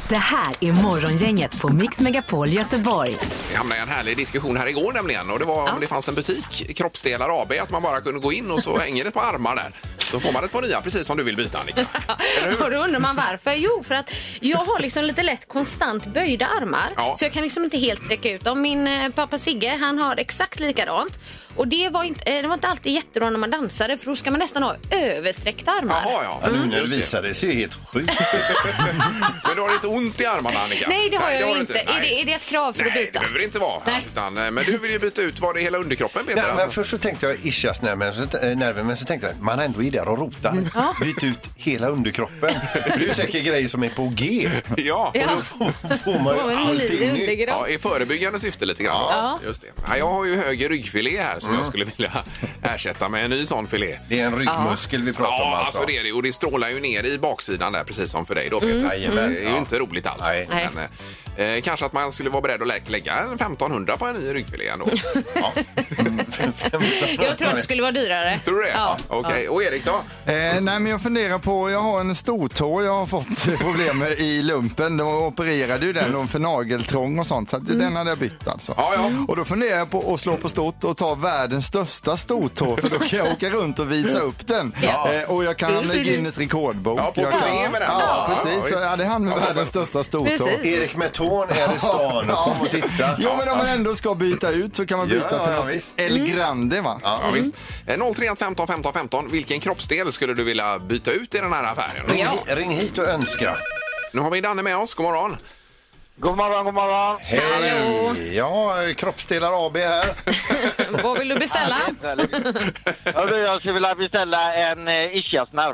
[SPEAKER 5] Det här är Morgongänget på Mix Megapol Göteborg.
[SPEAKER 1] Vi hamnade i en härlig diskussion här igår nämligen. Och det var om det fanns en butik, Kroppsdelar AB, att man bara kunde gå in och så hänger det ett par armar där. Så får man ett par nya, precis som du vill byta, Annika. Eller
[SPEAKER 2] Och
[SPEAKER 1] hur?
[SPEAKER 2] då undrar man varför. Jo, för att jag har liksom lite lätt konstant böjda armar.
[SPEAKER 1] Ja.
[SPEAKER 2] Så jag kan liksom inte helt sträcka ut dem. Min eh, pappa Sigge, han har exakt likadant. Och det var inte, eh, det var inte alltid jättebra när man dansade för då ska man nästan ha översträckta armar. Mm.
[SPEAKER 1] Jaha, ja.
[SPEAKER 3] Ja, nu när du
[SPEAKER 1] Mm. Just det.
[SPEAKER 3] visar det ser ju helt sjukt
[SPEAKER 1] Men du har inte ont i armarna, Annika?
[SPEAKER 2] Nej, det har jag
[SPEAKER 1] du
[SPEAKER 2] inte.
[SPEAKER 1] Nej.
[SPEAKER 2] Är, det, är det ett krav för
[SPEAKER 1] Nej,
[SPEAKER 2] att
[SPEAKER 1] det
[SPEAKER 2] byta?
[SPEAKER 1] behöver det inte vara.
[SPEAKER 2] Nej.
[SPEAKER 1] Utan, eh, men du vill ju byta ut, var det hela underkroppen, Peter?
[SPEAKER 3] Nej, men
[SPEAKER 1] alltså?
[SPEAKER 3] först så tänkte jag ischiasnerven, men, så t- eh, nerven, men så tänkte jag man har ändå i det rockar och rotar.
[SPEAKER 1] Mm.
[SPEAKER 3] Byt ut hela underkroppen. Det är ju säkert grejer som är på G.
[SPEAKER 1] Ja.
[SPEAKER 2] Ja,
[SPEAKER 3] Får man ju
[SPEAKER 2] får en
[SPEAKER 3] allting
[SPEAKER 2] lite
[SPEAKER 3] nytt.
[SPEAKER 2] undergrävt.
[SPEAKER 1] Ja, i förebyggande syfte lite grann.
[SPEAKER 2] Ja.
[SPEAKER 1] Just det. Ja, jag har ju höger ryggfilé här som jag skulle vilja ersätta med en ny sån filé.
[SPEAKER 3] Mm. Det är en ryggmuskel vi pratar om
[SPEAKER 1] Ja,
[SPEAKER 3] alltså.
[SPEAKER 1] alltså det är det. Och det strålar ju ner i baksidan där, precis som för dig då Peter.
[SPEAKER 3] Mm. Jajamän.
[SPEAKER 1] Det är ju inte roligt alls.
[SPEAKER 3] Nej.
[SPEAKER 2] Nej.
[SPEAKER 1] Men, eh, eh, kanske att man skulle vara beredd att lä- lägga en 1500 på en ny ryggfilé ändå. ja.
[SPEAKER 2] Jag tror att det skulle vara dyrare.
[SPEAKER 1] Tror du det?
[SPEAKER 2] Ja.
[SPEAKER 1] Okej, och Erik då?
[SPEAKER 4] Eh, nej men jag funderar på, jag har en stortå jag har fått problem med i lumpen. De opererade ju den då för nageltrång och sånt så att den hade jag bytt alltså.
[SPEAKER 1] Ja, ja.
[SPEAKER 4] Och då funderar jag på att slå på stort och ta världens största stortå för då kan jag åka runt och visa upp den.
[SPEAKER 2] Ja.
[SPEAKER 4] Eh, och jag kan hamna i Guinness rekordbok.
[SPEAKER 1] Ja, på
[SPEAKER 4] jag
[SPEAKER 1] turné
[SPEAKER 4] kan...
[SPEAKER 1] med den.
[SPEAKER 4] Ja,
[SPEAKER 1] Ja,
[SPEAKER 4] precis.
[SPEAKER 1] ja,
[SPEAKER 4] Så, ja,
[SPEAKER 1] visst.
[SPEAKER 4] det är han med världens största stortå.
[SPEAKER 2] Precis.
[SPEAKER 3] Erik med tån är i stan. Kom och titta.
[SPEAKER 4] Jo men om man ändå ska byta ut så kan man
[SPEAKER 3] Ja,
[SPEAKER 4] byta till
[SPEAKER 3] ja,
[SPEAKER 4] något
[SPEAKER 3] visst.
[SPEAKER 1] Mm.
[SPEAKER 4] El Grande va?
[SPEAKER 1] Ja, visst. Eh, 031 15 15 15. Vilken kroppsdel skulle du vilja byta ut i den här affären?
[SPEAKER 3] Ring, hi- ring hit och önska.
[SPEAKER 1] Nu har vi Danne med oss. God morgon.
[SPEAKER 6] God morgon, god morgon.
[SPEAKER 2] Hallå.
[SPEAKER 3] Ja, Kroppsdelar AB här.
[SPEAKER 2] Vad vill du beställa?
[SPEAKER 6] Hörru, jag skulle vilja beställa en eh, ischiasnerv.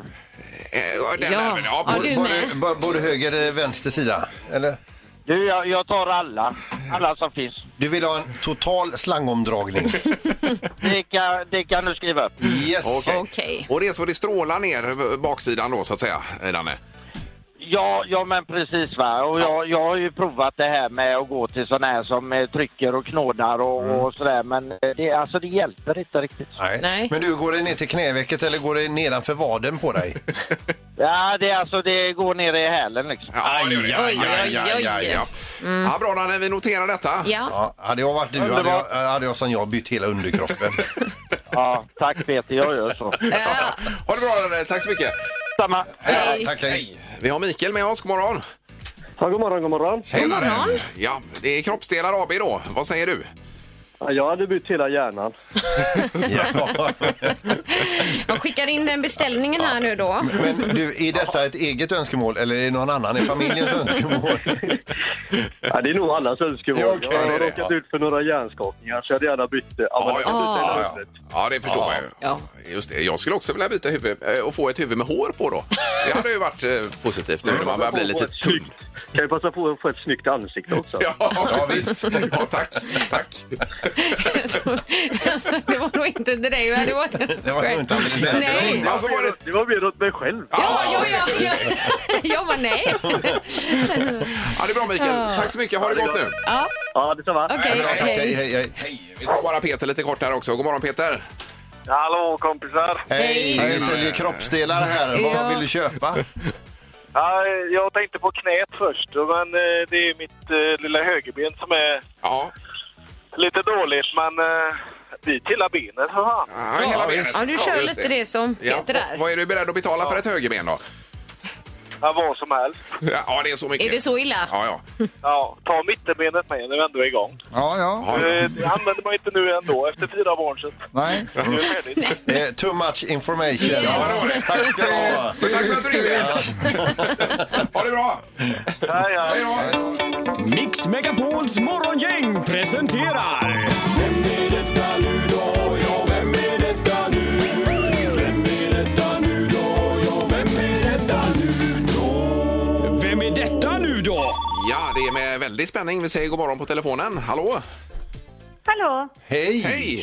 [SPEAKER 1] Eh, den
[SPEAKER 2] Ja.
[SPEAKER 1] där, men- ja,
[SPEAKER 2] Ja,
[SPEAKER 1] precis.
[SPEAKER 2] du-
[SPEAKER 3] Både, bo- både höger eh, vänster sida. Eller?
[SPEAKER 6] Du, jag, jag tar alla. Alla som finns.
[SPEAKER 3] Du vill ha en total slangomdragning?
[SPEAKER 6] Det kan, det kan du skriva upp.
[SPEAKER 3] Yes.
[SPEAKER 1] Okej.
[SPEAKER 2] Okej.
[SPEAKER 1] Och det är så det strålar ner baksidan då så att säga, eh, Danne?
[SPEAKER 6] Ja, ja men precis va. Och jag, jag har ju provat det här med att gå till sådana här som eh, trycker och knådar och, och sådär. Men eh, det, alltså, det hjälper inte riktigt.
[SPEAKER 3] Nej.
[SPEAKER 2] Nej.
[SPEAKER 3] Men du, går det ner till knävecket eller går det nedanför vaden på dig?
[SPEAKER 6] Ja, det, är alltså, det går ner i hälen liksom.
[SPEAKER 1] Ja, det gör det.
[SPEAKER 2] Aj, aj, aj, aj.
[SPEAKER 1] ja. Ja, bra Danne, vi noterar detta.
[SPEAKER 2] Ja.
[SPEAKER 3] Mm. Ja, hade jag varit du hade jag, eh, hade jag som jag bytt hela underkroppen.
[SPEAKER 6] Ja, tack Peter, jag gör så.
[SPEAKER 2] Ja.
[SPEAKER 1] Ha det bra Danne, tack så mycket.
[SPEAKER 6] Samma.
[SPEAKER 3] Ja, tack, hej.
[SPEAKER 1] Vi har Mikael med oss, god morgon.
[SPEAKER 6] Ja, god morgon, god morgon.
[SPEAKER 1] Hej morgon. Ja, det är kroppsdelar AB då. Vad säger du?
[SPEAKER 6] Jag hade bytt hela hjärnan.
[SPEAKER 3] Ja.
[SPEAKER 2] Jag skickar in den beställningen här nu då.
[SPEAKER 3] Men du, är detta ett eget önskemål eller är det någon annan i familjens önskemål?
[SPEAKER 6] Ja, det är nog allas önskemål.
[SPEAKER 3] Ja, okej,
[SPEAKER 6] jag
[SPEAKER 3] det
[SPEAKER 6] har
[SPEAKER 3] är det,
[SPEAKER 6] råkat
[SPEAKER 3] ja.
[SPEAKER 6] ut för några hjärnskakningar så jag hade gärna bytt det. Ja, men jag kan byta hela
[SPEAKER 1] ja, ja.
[SPEAKER 6] huvudet.
[SPEAKER 1] ja det förstår man ju.
[SPEAKER 2] Ja.
[SPEAKER 1] Just det. Jag skulle också vilja byta huvud eh, och få ett huvud med hår på då. Det hade ju varit eh, positivt nu när man börjar bli lite
[SPEAKER 6] Ett snyggt- Kan ju passa på att få ett snyggt ansikte också.
[SPEAKER 1] Ja, precis. Ja, tack. tack.
[SPEAKER 2] Alltså, det var nog inte till dig, men det var
[SPEAKER 3] Det var nog inte allergi.
[SPEAKER 2] Nej.
[SPEAKER 1] Men så var det...
[SPEAKER 6] Det var mer åt mig själv.
[SPEAKER 2] Ja, ja, ja, ja. Jag bara nej.
[SPEAKER 1] Ja, det är bra Mikael. Tack så mycket. Ha det gott nu.
[SPEAKER 2] Ja,
[SPEAKER 6] Ja, detsamma.
[SPEAKER 2] okej.
[SPEAKER 3] Bra, tack, hej,
[SPEAKER 2] hej.
[SPEAKER 3] hej, hej.
[SPEAKER 1] Hej. Vi tar bara Peter lite kort här också. God morgon Peter.
[SPEAKER 6] Hallå kompisar!
[SPEAKER 3] Hej,
[SPEAKER 2] Hej.
[SPEAKER 3] vi säljer kroppsdelar här.
[SPEAKER 2] Ja.
[SPEAKER 3] Vad vill du köpa?
[SPEAKER 6] Ja, jag tänkte på knät först, men eh, det är mitt eh, lilla högerben som är
[SPEAKER 1] Ja,
[SPEAKER 6] lite dåligt. Men eh, dit hela benet, för fan.
[SPEAKER 1] ja hela benet.
[SPEAKER 2] Ja, du
[SPEAKER 1] Ja,
[SPEAKER 2] kör
[SPEAKER 1] just
[SPEAKER 2] lite det som Peter
[SPEAKER 1] Ja.
[SPEAKER 2] där.
[SPEAKER 1] Vad är du beredd att betala för ett högerben då?
[SPEAKER 6] Ja, vad som helst.
[SPEAKER 1] Ja, det är så mycket.
[SPEAKER 2] Är det så illa?
[SPEAKER 1] Ja, ja.
[SPEAKER 6] Ja, ta mittenbenet med när vi ändå är igång.
[SPEAKER 4] Ja, ja.
[SPEAKER 6] Eh, Det använder man inte nu ändå efter fyra barn. Så
[SPEAKER 4] Nej.
[SPEAKER 6] det är färdigt.
[SPEAKER 3] Eh, too much information.
[SPEAKER 2] Yes.
[SPEAKER 3] Ja, det var det. Tack ska du ha.
[SPEAKER 1] Men tack för att du ringde. Ha det bra.
[SPEAKER 6] Ja, ja.
[SPEAKER 1] Hej då.
[SPEAKER 7] Mix Megapols morgongäng presenterar... Vem är detta nu då? Ja, vem är detta nu? Vem är detta nu då? Ja, vem är detta nu då? Vem är detta nu då?
[SPEAKER 1] Ja, det är med väldig spänning vi säger god morgon på telefonen. Hallå?
[SPEAKER 9] Hallå?
[SPEAKER 3] Hej.
[SPEAKER 1] Hej!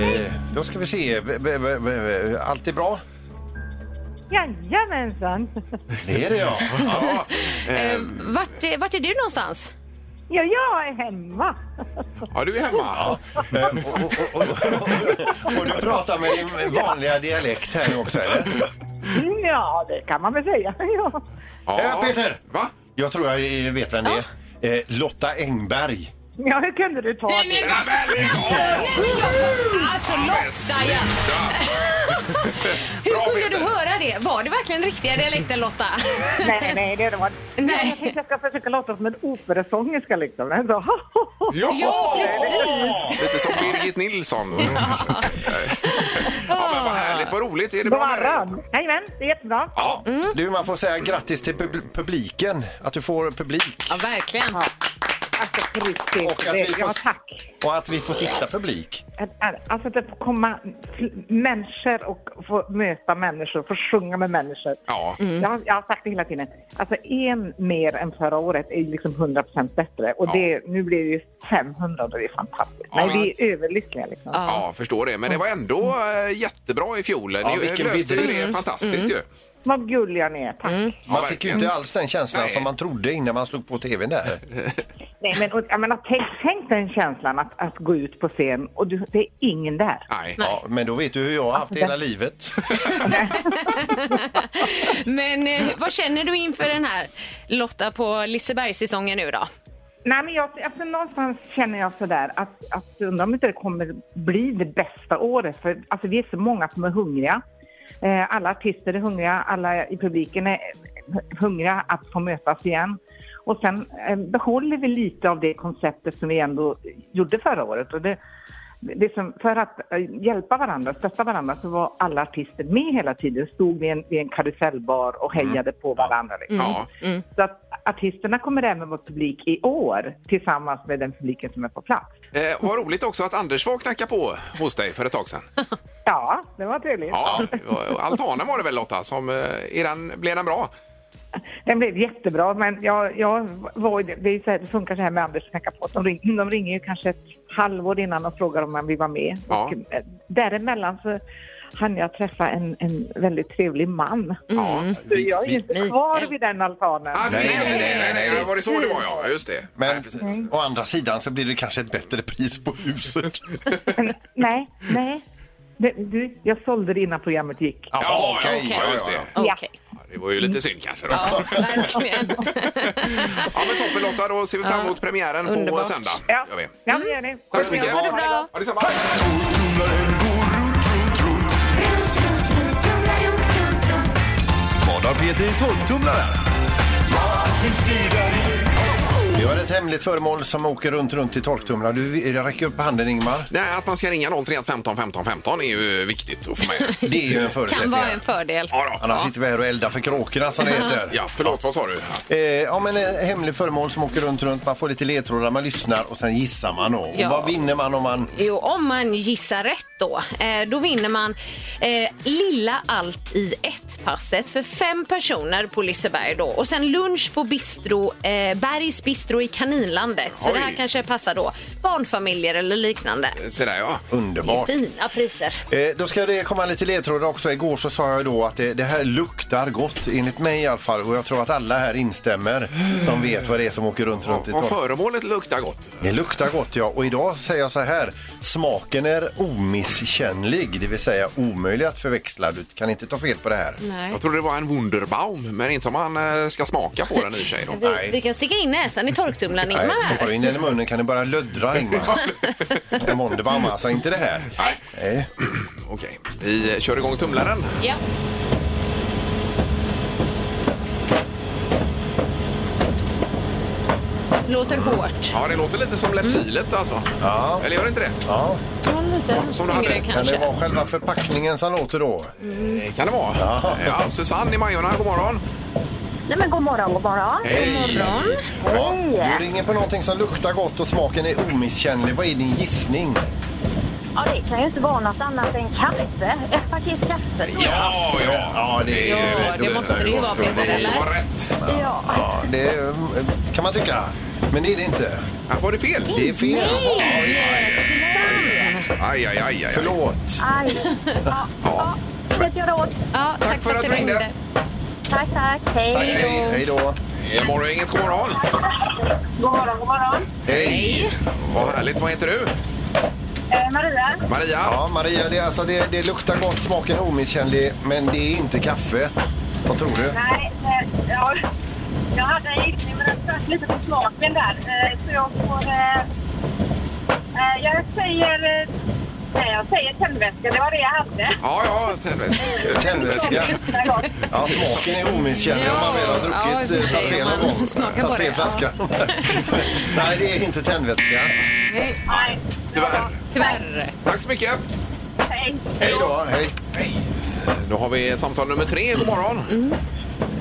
[SPEAKER 3] Eh, då ska vi se. V- v- v- v- Allt är bra?
[SPEAKER 9] Jajamensan.
[SPEAKER 3] Det är det, ja.
[SPEAKER 1] Ja,
[SPEAKER 2] Eh, Vart, är- vart är du någonstans?
[SPEAKER 9] Ja, jag är hemma.
[SPEAKER 1] ja du är hemma.
[SPEAKER 3] Eh, och, och, och, och, och du pratar med din vanliga dialekt här nu också, eller?
[SPEAKER 9] Mm, Ja, det kan man väl säga. Ja.
[SPEAKER 3] Ja, Peter.
[SPEAKER 1] Va?
[SPEAKER 3] Jag tror jag eh, vet vem det är. Eh, Lotta Engberg.
[SPEAKER 9] ja, hur kunde du ta
[SPEAKER 2] Nej,
[SPEAKER 9] det?
[SPEAKER 2] men Alltså Lotta, ja. Hur
[SPEAKER 1] Bra,
[SPEAKER 2] kunde du
[SPEAKER 1] Peter.
[SPEAKER 2] höra det? Var det verkligen riktiga dialekten Lotta?
[SPEAKER 9] Nej, nej, det var
[SPEAKER 2] Nej.
[SPEAKER 9] Jag tänkte jag ska försöka låta som en operasångerska liksom. Men så,
[SPEAKER 2] Ja, precis.
[SPEAKER 1] Lite som Birgit Nilsson. Ja, men vad härligt, vad roligt. Är det
[SPEAKER 9] God
[SPEAKER 1] bra med dig?
[SPEAKER 9] morgon! Jajamän, det är jättebra.
[SPEAKER 1] Ja,
[SPEAKER 3] Mm. Du, man får säga grattis till pub- publiken. Att du får publik.
[SPEAKER 2] Ja, verkligen.
[SPEAKER 9] Tack så Alltså, riktigt.
[SPEAKER 3] Och att vi
[SPEAKER 9] Det-
[SPEAKER 3] får-
[SPEAKER 9] Ja, tack.
[SPEAKER 3] Och att vi får sitta publik.
[SPEAKER 9] Att- Alltså att få komma fl- människor och få möta människor, få sjunga med människor.
[SPEAKER 1] Ja.
[SPEAKER 9] Jag, har, jag har sagt det hela tiden. Alltså en mer än förra året är ju liksom 100 procent bättre. Och
[SPEAKER 1] Ja.
[SPEAKER 9] det, nu blir det ju 500 och det är fantastiskt.
[SPEAKER 1] Ja,
[SPEAKER 9] Nej, vi är överlyckliga liksom.
[SPEAKER 1] Ja, förstår det. Men det var ändå eh, jättebra i fjol. Ni
[SPEAKER 3] Ja, vilken
[SPEAKER 1] löste ju
[SPEAKER 3] bedrift.
[SPEAKER 1] det
[SPEAKER 2] Mm.
[SPEAKER 1] fantastiskt ju.
[SPEAKER 9] Mm. Vad gulliga ni är, tack.
[SPEAKER 3] Man fick ju
[SPEAKER 1] verkligen.
[SPEAKER 3] inte alls den känslan
[SPEAKER 1] Nej.
[SPEAKER 3] som man trodde innan man slog på tvn där.
[SPEAKER 9] Nej, men och, jag menar, tänk, tänk den känslan att, att gå ut på scen och du, det är ingen där.
[SPEAKER 1] Nej.
[SPEAKER 3] Ja, men då vet du hur jag har haft det hela livet.
[SPEAKER 2] Men eh, vad känner du inför den här Lotta på Lisebergssäsongen nu då?
[SPEAKER 9] Nej, men jag, alltså, någonstans känner jag sådär att, att undrar om inte det kommer bli det bästa året. För alltså, vi är så många som är hungriga. Eh, alla artister är hungriga, alla i publiken är hungriga att få mötas igen. Och sen eh, behåller vi lite av det konceptet som vi ändå gjorde förra året. Och det, det som, för att eh, hjälpa varandra, stötta varandra, så var alla artister med hela tiden. Stod vid en, vid en karusellbar och hejade på varandra. Liksom.
[SPEAKER 1] Mm. Ja. Mm.
[SPEAKER 9] Så att artisterna kommer även vara publik i år tillsammans med den publiken som är på plats.
[SPEAKER 1] Eh, vad roligt också att Anders var och knackade på hos dig för ett tag sedan.
[SPEAKER 9] Ja, det var trevligt.
[SPEAKER 1] Ja, och- och altanen var det väl Lotta som... eh, Är den, blev den bra?
[SPEAKER 9] Den blev jättebra, men jag, jag var, det, är ju så här, det funkar så här med Anders och knacka på. De, ring, de ringer ju kanske ett halvår innan och frågar om man vill vara med.
[SPEAKER 1] Ja.
[SPEAKER 9] Och, eh, däremellan så hann jag träffa en, en väldigt trevlig man.
[SPEAKER 1] Ja.
[SPEAKER 9] Så jag är ju inte kvar vid den altanen.
[SPEAKER 1] Ah, nej,
[SPEAKER 3] Nej,
[SPEAKER 1] nej, nej, nej, nej, var det så det var ja, just det.
[SPEAKER 3] Men
[SPEAKER 1] nej, precis.
[SPEAKER 3] å andra sidan så blir det kanske ett bättre pris på huset.
[SPEAKER 9] Men, nej, nej. Det, du, jag sålde det innan programmet gick.
[SPEAKER 1] Ja,
[SPEAKER 3] okej,
[SPEAKER 1] okej,
[SPEAKER 3] ja,
[SPEAKER 1] just
[SPEAKER 3] ja,
[SPEAKER 1] det.
[SPEAKER 3] ja.
[SPEAKER 2] Okej.
[SPEAKER 9] Ja.
[SPEAKER 1] Ja, Det var ju lite synd kanske då.
[SPEAKER 2] Ja, verkligen.
[SPEAKER 1] Ja, men toppen Lotta, då ser vi fram emot premiären på
[SPEAKER 2] Underbart.
[SPEAKER 1] söndag.
[SPEAKER 9] Ja,
[SPEAKER 1] Gör vi.
[SPEAKER 9] ja det gör ni.
[SPEAKER 1] Tack så mycket.
[SPEAKER 2] Ha det bra.
[SPEAKER 1] Ja, detsamma.
[SPEAKER 7] Vad har Peter i tolvtumlaren?
[SPEAKER 3] Vi har ett hemligt föremål som åker runt, runt i torktumlaren. Du jag räcker upp handen Ingmar.
[SPEAKER 1] Nej, att man ska ringa 031 15 15 15 är ju viktigt att få med.
[SPEAKER 3] Det är ju en
[SPEAKER 2] Kan
[SPEAKER 3] förutsättning.
[SPEAKER 2] vara en fördel.
[SPEAKER 1] Ja, då.
[SPEAKER 3] Annars sitter vi här och eldar för kråkorna som det heter.
[SPEAKER 1] ja förlåt, vad sa du?
[SPEAKER 3] Eh, ja, men eh, hemlig föremål som åker runt, runt. Man får lite ledtrådar, man lyssnar och sen gissar man. Då.
[SPEAKER 2] Ja.
[SPEAKER 3] Och vad vinner man om man...
[SPEAKER 2] Jo, om man gissar rätt då, eh, då vinner man eh, Lilla allt i ett-passet för fem personer på Liseberg då. Och sen lunch på bistro, eh, Bergs bistro i Kaninlandet. Så
[SPEAKER 1] Oj.
[SPEAKER 2] det här kanske passar då barnfamiljer eller liknande.
[SPEAKER 1] Så där ja.
[SPEAKER 2] Det är
[SPEAKER 3] Underbart.
[SPEAKER 2] fina priser.
[SPEAKER 3] Eh, då ska det komma lite ledtrådar också. Igår så sa jag då att det, det här luktar gott, enligt mig i alla fall. Och jag tror att alla här instämmer som vet vad det är som åker runt, runt i
[SPEAKER 1] Om
[SPEAKER 3] torktumlaren.
[SPEAKER 1] föremålet luktar gott.
[SPEAKER 3] Det luktar gott ja, och idag säger jag så här. Smaken är omisskännlig, det vill säga omöjlig att förväxla. Du kan inte ta fel på det här.
[SPEAKER 2] Nej.
[SPEAKER 1] Jag trodde det var en Wunderbaum, men inte om man eh, ska smaka på den i och för sig. Då.
[SPEAKER 2] Vi, vi kan sticka in näsan i torktumlaren,
[SPEAKER 3] Nej,
[SPEAKER 2] Ingmar.
[SPEAKER 3] stoppar du in den i munnen kan det bara löddra Ingmar. En Wunderbaum, alltså inte det här.
[SPEAKER 1] Nej,
[SPEAKER 3] Nej.
[SPEAKER 1] okej. Vi eh, kör igång tumlaren.
[SPEAKER 2] Ja. Låter hårt.
[SPEAKER 1] Ja, det låter lite som Lepsylet alltså.
[SPEAKER 3] Ja.
[SPEAKER 1] Eller gör det inte det?
[SPEAKER 3] Ja,
[SPEAKER 1] Som, som du hade.
[SPEAKER 3] kan det
[SPEAKER 2] Kanske.
[SPEAKER 3] vara själva förpackningen som låter då?
[SPEAKER 1] Eh, Kan det vara? Ja. Susanne i Majorna, god morgon.
[SPEAKER 10] Nej men god morgon, god morgon.
[SPEAKER 1] Hej!
[SPEAKER 3] Ja. Du ringer på någonting som luktar gott och smaken är omisskännlig. Vad är din gissning?
[SPEAKER 10] Ja, det kan ju inte vara något annat än kaffe. Ett paket kaffe.
[SPEAKER 1] Ja, ja.
[SPEAKER 3] Ja, det, är-
[SPEAKER 2] Ja, det måste det ju vara, Peter,
[SPEAKER 1] Det måste
[SPEAKER 2] eller?
[SPEAKER 1] vara rätt.
[SPEAKER 10] Ja.
[SPEAKER 3] Ja, det eh, kan man tycka. Men det är det inte.
[SPEAKER 1] Ja, Var det fel?
[SPEAKER 3] Det är fel.
[SPEAKER 1] Aj, aj, aj. aj, aj.
[SPEAKER 3] Förlåt.
[SPEAKER 10] Aj. Ja. ja. Inget göra åt.
[SPEAKER 2] Ja, tack,
[SPEAKER 1] för att du ringde.
[SPEAKER 10] Tack, tack.
[SPEAKER 3] Tack,
[SPEAKER 10] Hej.
[SPEAKER 3] hej, hej då.
[SPEAKER 1] Eh, Morgon, inget god morgon.
[SPEAKER 10] God morgon, god morgon.
[SPEAKER 3] Hej!
[SPEAKER 1] Vad härligt. Vad heter du?
[SPEAKER 10] Eh, Maria.
[SPEAKER 1] Maria?
[SPEAKER 3] Ja, Maria, det, är alltså, det, det luktar gott, smaken är omisskännlig, men det är inte kaffe. Vad tror du?
[SPEAKER 10] Nej, eh, ja. jag hade en gissning men den sprack lite på smaken där. Eh, så jag får... Eh, eh, jag säger... Eh, nej, jag säger tändvätska. Det var det jag hade.
[SPEAKER 1] Ja, ja. tändvätska.
[SPEAKER 3] Tändvätska.
[SPEAKER 10] Det var gott.
[SPEAKER 3] Ja, smaken är omisskännlig om man väl har
[SPEAKER 2] Ja, i och
[SPEAKER 3] druckit,
[SPEAKER 2] för
[SPEAKER 3] eh,
[SPEAKER 2] sig,
[SPEAKER 3] tagit fel
[SPEAKER 2] om
[SPEAKER 3] någon
[SPEAKER 2] man
[SPEAKER 3] gång.
[SPEAKER 2] smakar på
[SPEAKER 3] Tagit fel
[SPEAKER 2] det,
[SPEAKER 3] flaska. Nej, det är inte tändvätska.
[SPEAKER 10] Nej.
[SPEAKER 1] Tyvärr.
[SPEAKER 2] Tyvärr.
[SPEAKER 1] Tack så mycket.
[SPEAKER 10] Hej.
[SPEAKER 3] Hej då, hej.
[SPEAKER 1] Hej. Då har vi samtal nummer tre. God morgon.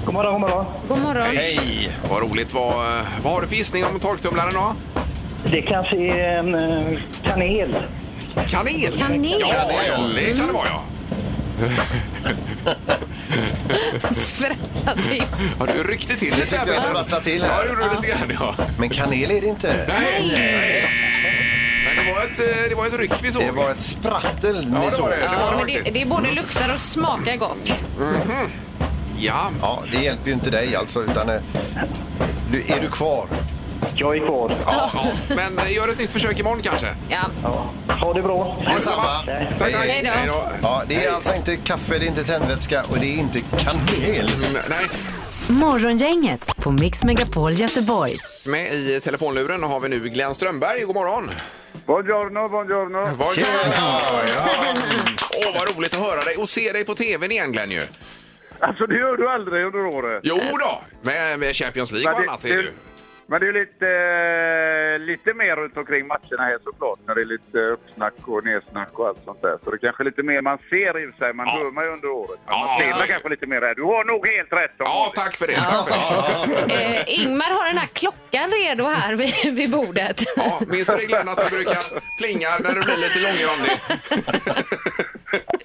[SPEAKER 9] God morgon, god morgon.
[SPEAKER 2] God morgon.
[SPEAKER 1] Hej. Vad roligt. Vad, vad har du för gissning om torktumlaren då?
[SPEAKER 11] Det kanske är en eh, kanel.
[SPEAKER 1] Kanel?
[SPEAKER 2] Kanel?
[SPEAKER 1] Ja, det, ja, det kan det vara ja.
[SPEAKER 2] Sprattla till.
[SPEAKER 1] Ja, du ryckte till lite
[SPEAKER 3] tyckte jag sprattla till här.
[SPEAKER 1] Ja, det gjorde du lite grann ja.
[SPEAKER 3] Men kanel är det inte.
[SPEAKER 1] Nej. Men det var ett, eh, det var ett ryck vi såg.
[SPEAKER 3] Det var ett sprattel
[SPEAKER 1] Ja,
[SPEAKER 3] ni
[SPEAKER 1] det
[SPEAKER 3] såg.
[SPEAKER 1] var det. det, var
[SPEAKER 2] Ja,
[SPEAKER 1] det
[SPEAKER 2] men det,
[SPEAKER 1] faktiskt. Mm. Mm-hmm.
[SPEAKER 2] det både luktar och smakar gott.
[SPEAKER 1] Ja,
[SPEAKER 3] Mhm. Ja, det hjälper ju inte dig alltså, utan... eh, Du, är du kvar?
[SPEAKER 11] Jag är kvar.
[SPEAKER 1] ja, ja. Men eh, gör ett nytt försök imorgon kanske.
[SPEAKER 2] Ja.
[SPEAKER 11] Ja. Ha det bra.
[SPEAKER 3] Detsamma.
[SPEAKER 1] Tack, tack.
[SPEAKER 2] Hej då.
[SPEAKER 3] Ja, det är alltså inte kaffe, det är inte tändvätska och det är inte kanel.
[SPEAKER 1] Mm, Nej,
[SPEAKER 5] Morgongänget på Mix Megapol Göteborg.
[SPEAKER 1] med i telefonluren har vi nu Glenn Strömberg. God morgon!
[SPEAKER 12] Buongiorno, buongiorno.
[SPEAKER 1] Vad Åh, vad roligt att höra dig och se dig på tvn igen Glenn ju.
[SPEAKER 12] Alltså det gör du aldrig under året.
[SPEAKER 1] Jo då, med, med Champions League och
[SPEAKER 12] Men det-
[SPEAKER 1] annat är det ju.
[SPEAKER 12] Men det är ju lite, eh, lite mer runt omkring matcherna här såklart när det är lite uppsnack och nedsnack och allt sånt där. Så det kanske är lite mer man ser i och för sig. Man
[SPEAKER 1] Ja.
[SPEAKER 12] hör man ju under året. Men
[SPEAKER 1] Ja,
[SPEAKER 12] man ser
[SPEAKER 1] så är
[SPEAKER 12] man
[SPEAKER 1] det.
[SPEAKER 12] kanske lite mer här. Du har nog helt rätt om
[SPEAKER 1] Ja,
[SPEAKER 12] vanligt.
[SPEAKER 1] tack för det. Tack för det.
[SPEAKER 2] Eh, Ingmar har den här klockan redo här vid, vid bordet.
[SPEAKER 1] Ja, minns du det Glenn att det brukar plinga när du blir lite långrandig?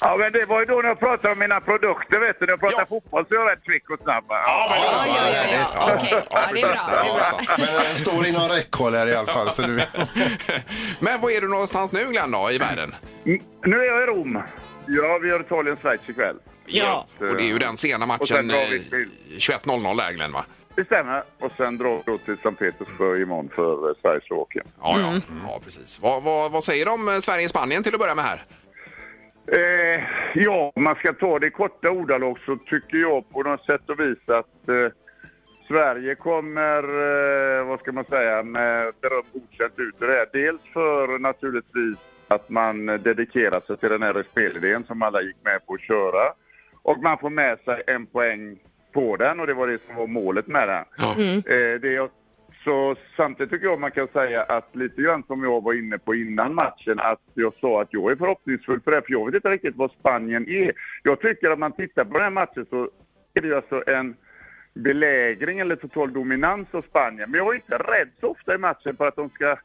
[SPEAKER 12] Ja, men det var ju då när jag pratade om mina produkter vet du. När jag pratade
[SPEAKER 1] Ja.
[SPEAKER 12] fotboll så är jag rätt kvick och snabb. va?
[SPEAKER 1] Ja, men
[SPEAKER 2] Ja, ja, ja, ja. Okej. Ja, det är bra, det är bra.
[SPEAKER 3] Men den står inom räckhåll här i alla fall. Så du...
[SPEAKER 1] Men var är du någonstans nu Glenn då, i världen?
[SPEAKER 12] Mm, Nu är jag i Rom. Ja, vi gör Italien-Schweiz ikväll.
[SPEAKER 2] Ja.
[SPEAKER 1] Och det är ju den sena
[SPEAKER 12] Och sen
[SPEAKER 1] matchen
[SPEAKER 12] drar vi
[SPEAKER 1] eh,
[SPEAKER 12] till.
[SPEAKER 1] 21.00 där Glenn va?
[SPEAKER 12] Det stämmer. Och sen drar vi då till Sankt Petersburg imorgon för eh, Sveriges åker.
[SPEAKER 1] Ja, ja.
[SPEAKER 2] Mm.
[SPEAKER 1] ja precis. Vad, vad, vad säger de eh, om Sverige-Spanien till att börja med här?
[SPEAKER 12] Eh, ja, om man ska ta det i korta ordalag så tycker jag på något sätt och vis att eh, Sverige kommer, eh, vad ska man säga, med beröm godkänt ut ur det här. Dels för naturligtvis att man dedikerar sig till den här spelidén som alla gick med på att köra. Och man får med sig en poäng på den och det var det som var målet med den. Eh, det jag, så samtidigt tycker jag man kan säga att lite grann som jag var inne på innan matchen att jag sa att jag är förhoppningsfull för det här, för jag vet inte riktigt vad Spanien är. Jag tycker att man tittar på den här matchen så är det ju alltså en belägring eller total dominans av Spanien. Men jag är inte rädd så ofta i matchen för att de ska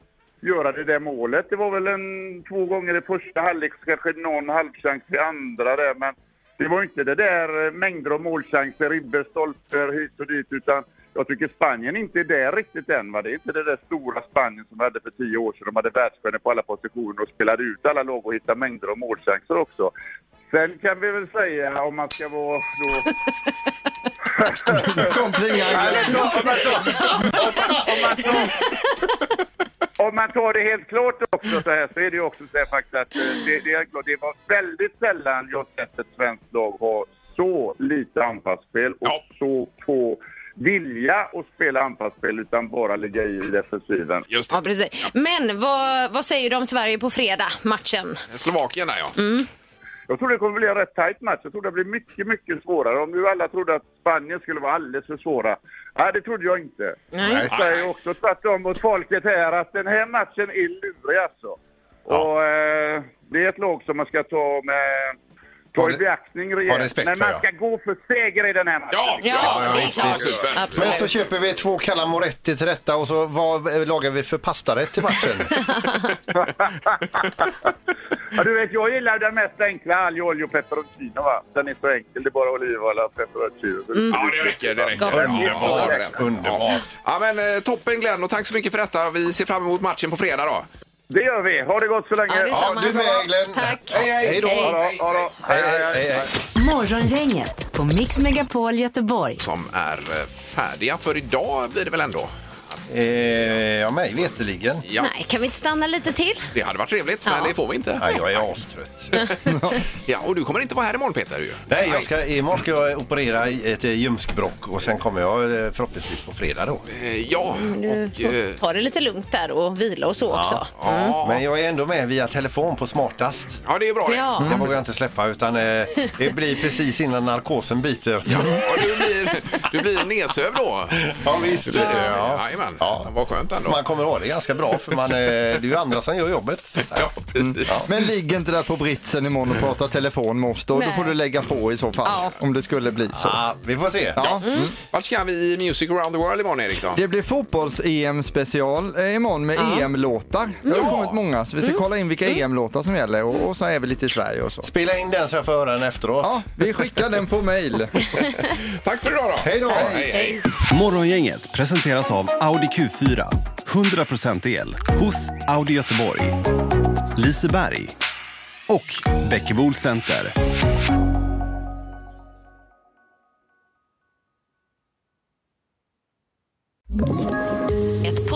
[SPEAKER 12] göra det där målet. Det var väl en, två gånger i första halvlek, så kanske någon halvchans i andra där. Men det var inte det där eh, mängder av målchanser, ribbor, stolper hit och dit. Utan jag tycker Spanien inte är där riktigt än. Va? Det är inte det där stora Spanien som vi hade för tio år sedan. De hade världsstjärnor på alla positioner och spelade ut alla lag och hittade mängder av målchanser också. Sen kan vi väl säga, om man ska vara då
[SPEAKER 4] Kom plingan.
[SPEAKER 12] Eller så- om man tar- om man- om man tar- Om man tar det helt klart också så här så är det ju också så här faktiskt att eh, det, det, är klart, det var väldigt sällan jag sett ett svenskt lag ha så lite anfallsspel och
[SPEAKER 1] Ja.
[SPEAKER 12] så få vilja att spela anfallsspel utan bara ligga i defensiven.
[SPEAKER 1] Just
[SPEAKER 2] Ja,
[SPEAKER 1] det.
[SPEAKER 2] precis. Men vad, vad säger du om Sverige på fredag, matchen?
[SPEAKER 1] Slovakien där ja.
[SPEAKER 2] Mm.
[SPEAKER 12] Jag tror det kommer bli en rätt tajt match. Jag tror det blir mycket, mycket svårare. Om nu alla trodde att Spanien skulle vara alldeles för svåra. Nej, det trodde jag inte.
[SPEAKER 2] Nej.
[SPEAKER 12] Jag säger också tvärtom mot folket här att den här matchen är lurig alltså. Och eh, det är ett lag som man ska ta med...
[SPEAKER 3] Ha
[SPEAKER 12] Ta i
[SPEAKER 3] re-
[SPEAKER 12] beaktning
[SPEAKER 3] ha respekt
[SPEAKER 12] rejält. Men man
[SPEAKER 3] för,
[SPEAKER 12] ska gå för seger i den här matchen.
[SPEAKER 1] Ja,
[SPEAKER 2] Ja,
[SPEAKER 1] ja,
[SPEAKER 2] det är
[SPEAKER 1] visst,
[SPEAKER 2] klart.
[SPEAKER 1] super.
[SPEAKER 2] Absolut.
[SPEAKER 3] Men så köper vi två kalla moretti till detta och så vad eh, lagar vi för pastarätt till matchen?
[SPEAKER 12] ja, du vet, jag gillar den mest enkla, alg, olja och peperoncino va. Den är så enkel, det är bara olivolja och peperoncino.
[SPEAKER 3] Mm.
[SPEAKER 1] Ja, det räcker. Det räcker.
[SPEAKER 2] Gott.
[SPEAKER 1] Ja, ja, ja.
[SPEAKER 3] Underbart.
[SPEAKER 1] Ja, men eh, toppen Glenn och tack så mycket för detta. Vi ser fram emot matchen på fredag då.
[SPEAKER 12] Det gör vi, ha det gott så länge.
[SPEAKER 2] Ja, det är
[SPEAKER 3] Ja,
[SPEAKER 2] samma.
[SPEAKER 3] du med Glenn.
[SPEAKER 2] Tack.
[SPEAKER 3] Hej, hej. Hej då.
[SPEAKER 2] Hej.
[SPEAKER 12] Ja, ja, ja.
[SPEAKER 3] Hej, hej, hej, hej.
[SPEAKER 5] Morgongänget på Mix Megapol Göteborg.
[SPEAKER 1] Som är eh, färdiga för idag blir det väl ändå?
[SPEAKER 3] Eh, ja, mig veterligen.
[SPEAKER 1] Ja,
[SPEAKER 2] Nej, kan vi inte stanna lite till?
[SPEAKER 1] det hade varit trevligt, men
[SPEAKER 2] Ja.
[SPEAKER 1] det får vi inte.
[SPEAKER 3] Nej, jag är astrött.
[SPEAKER 1] Ja, och du kommer inte vara här imorgon Peter ju.
[SPEAKER 3] Nej, jag ska, imorgon ska jag operera i ett eh, ljumskbråck och sen kommer jag eh, förhoppningsvis på fredag då.
[SPEAKER 1] Eh, Ja,
[SPEAKER 2] Du
[SPEAKER 1] och... eh,
[SPEAKER 2] får ta det lite lugnt där och vila och så också. Mm.
[SPEAKER 1] Ja,
[SPEAKER 3] Men jag är ändå med via telefon på smartast.
[SPEAKER 1] ja, det är bra det.
[SPEAKER 2] Ja.
[SPEAKER 3] Det vågar jag inte släppa utan eh, det blir precis innan narkosen biter.
[SPEAKER 1] Och du blir Du blir nedsövd då?
[SPEAKER 3] Ja, visst.
[SPEAKER 1] Det blir det.
[SPEAKER 3] Ja.
[SPEAKER 1] Jajamän. Vad skönt ändå.
[SPEAKER 3] Man kommer ihåg det ganska bra för man, eh, det är ju andra som gör jobbet. Så att säga.
[SPEAKER 1] Mm.
[SPEAKER 3] Ja.
[SPEAKER 4] Men ligg inte där på britsen imorgon och prata telefon med oss då. Då
[SPEAKER 2] Nej.
[SPEAKER 4] får du lägga på i så fall.
[SPEAKER 2] Ja.
[SPEAKER 4] Om det skulle bli så.
[SPEAKER 3] Ja, Mm. vi får se.
[SPEAKER 4] Ja.
[SPEAKER 1] Vart ska vi i Music around the world imorgon, Erik? Då?
[SPEAKER 4] Det blir fotbolls-EM-special eh, imorgon med EM-låtar. Det har ju kommit många så vi
[SPEAKER 2] Mm.
[SPEAKER 4] ska kolla in vilka EM-låtar som gäller och, och så är vi lite i Sverige och så.
[SPEAKER 3] Spela in den så jag får höra den efteråt.
[SPEAKER 4] Ja, vi skickar den på mail.
[SPEAKER 1] Tack för idag då.
[SPEAKER 3] Hej då.
[SPEAKER 1] Hej, hej.
[SPEAKER 7] Morgongänget presenteras av Audi Q4. 100% el hos Audi Göteborg, Liseberg och Bäckebol Center.
[SPEAKER 5] Ett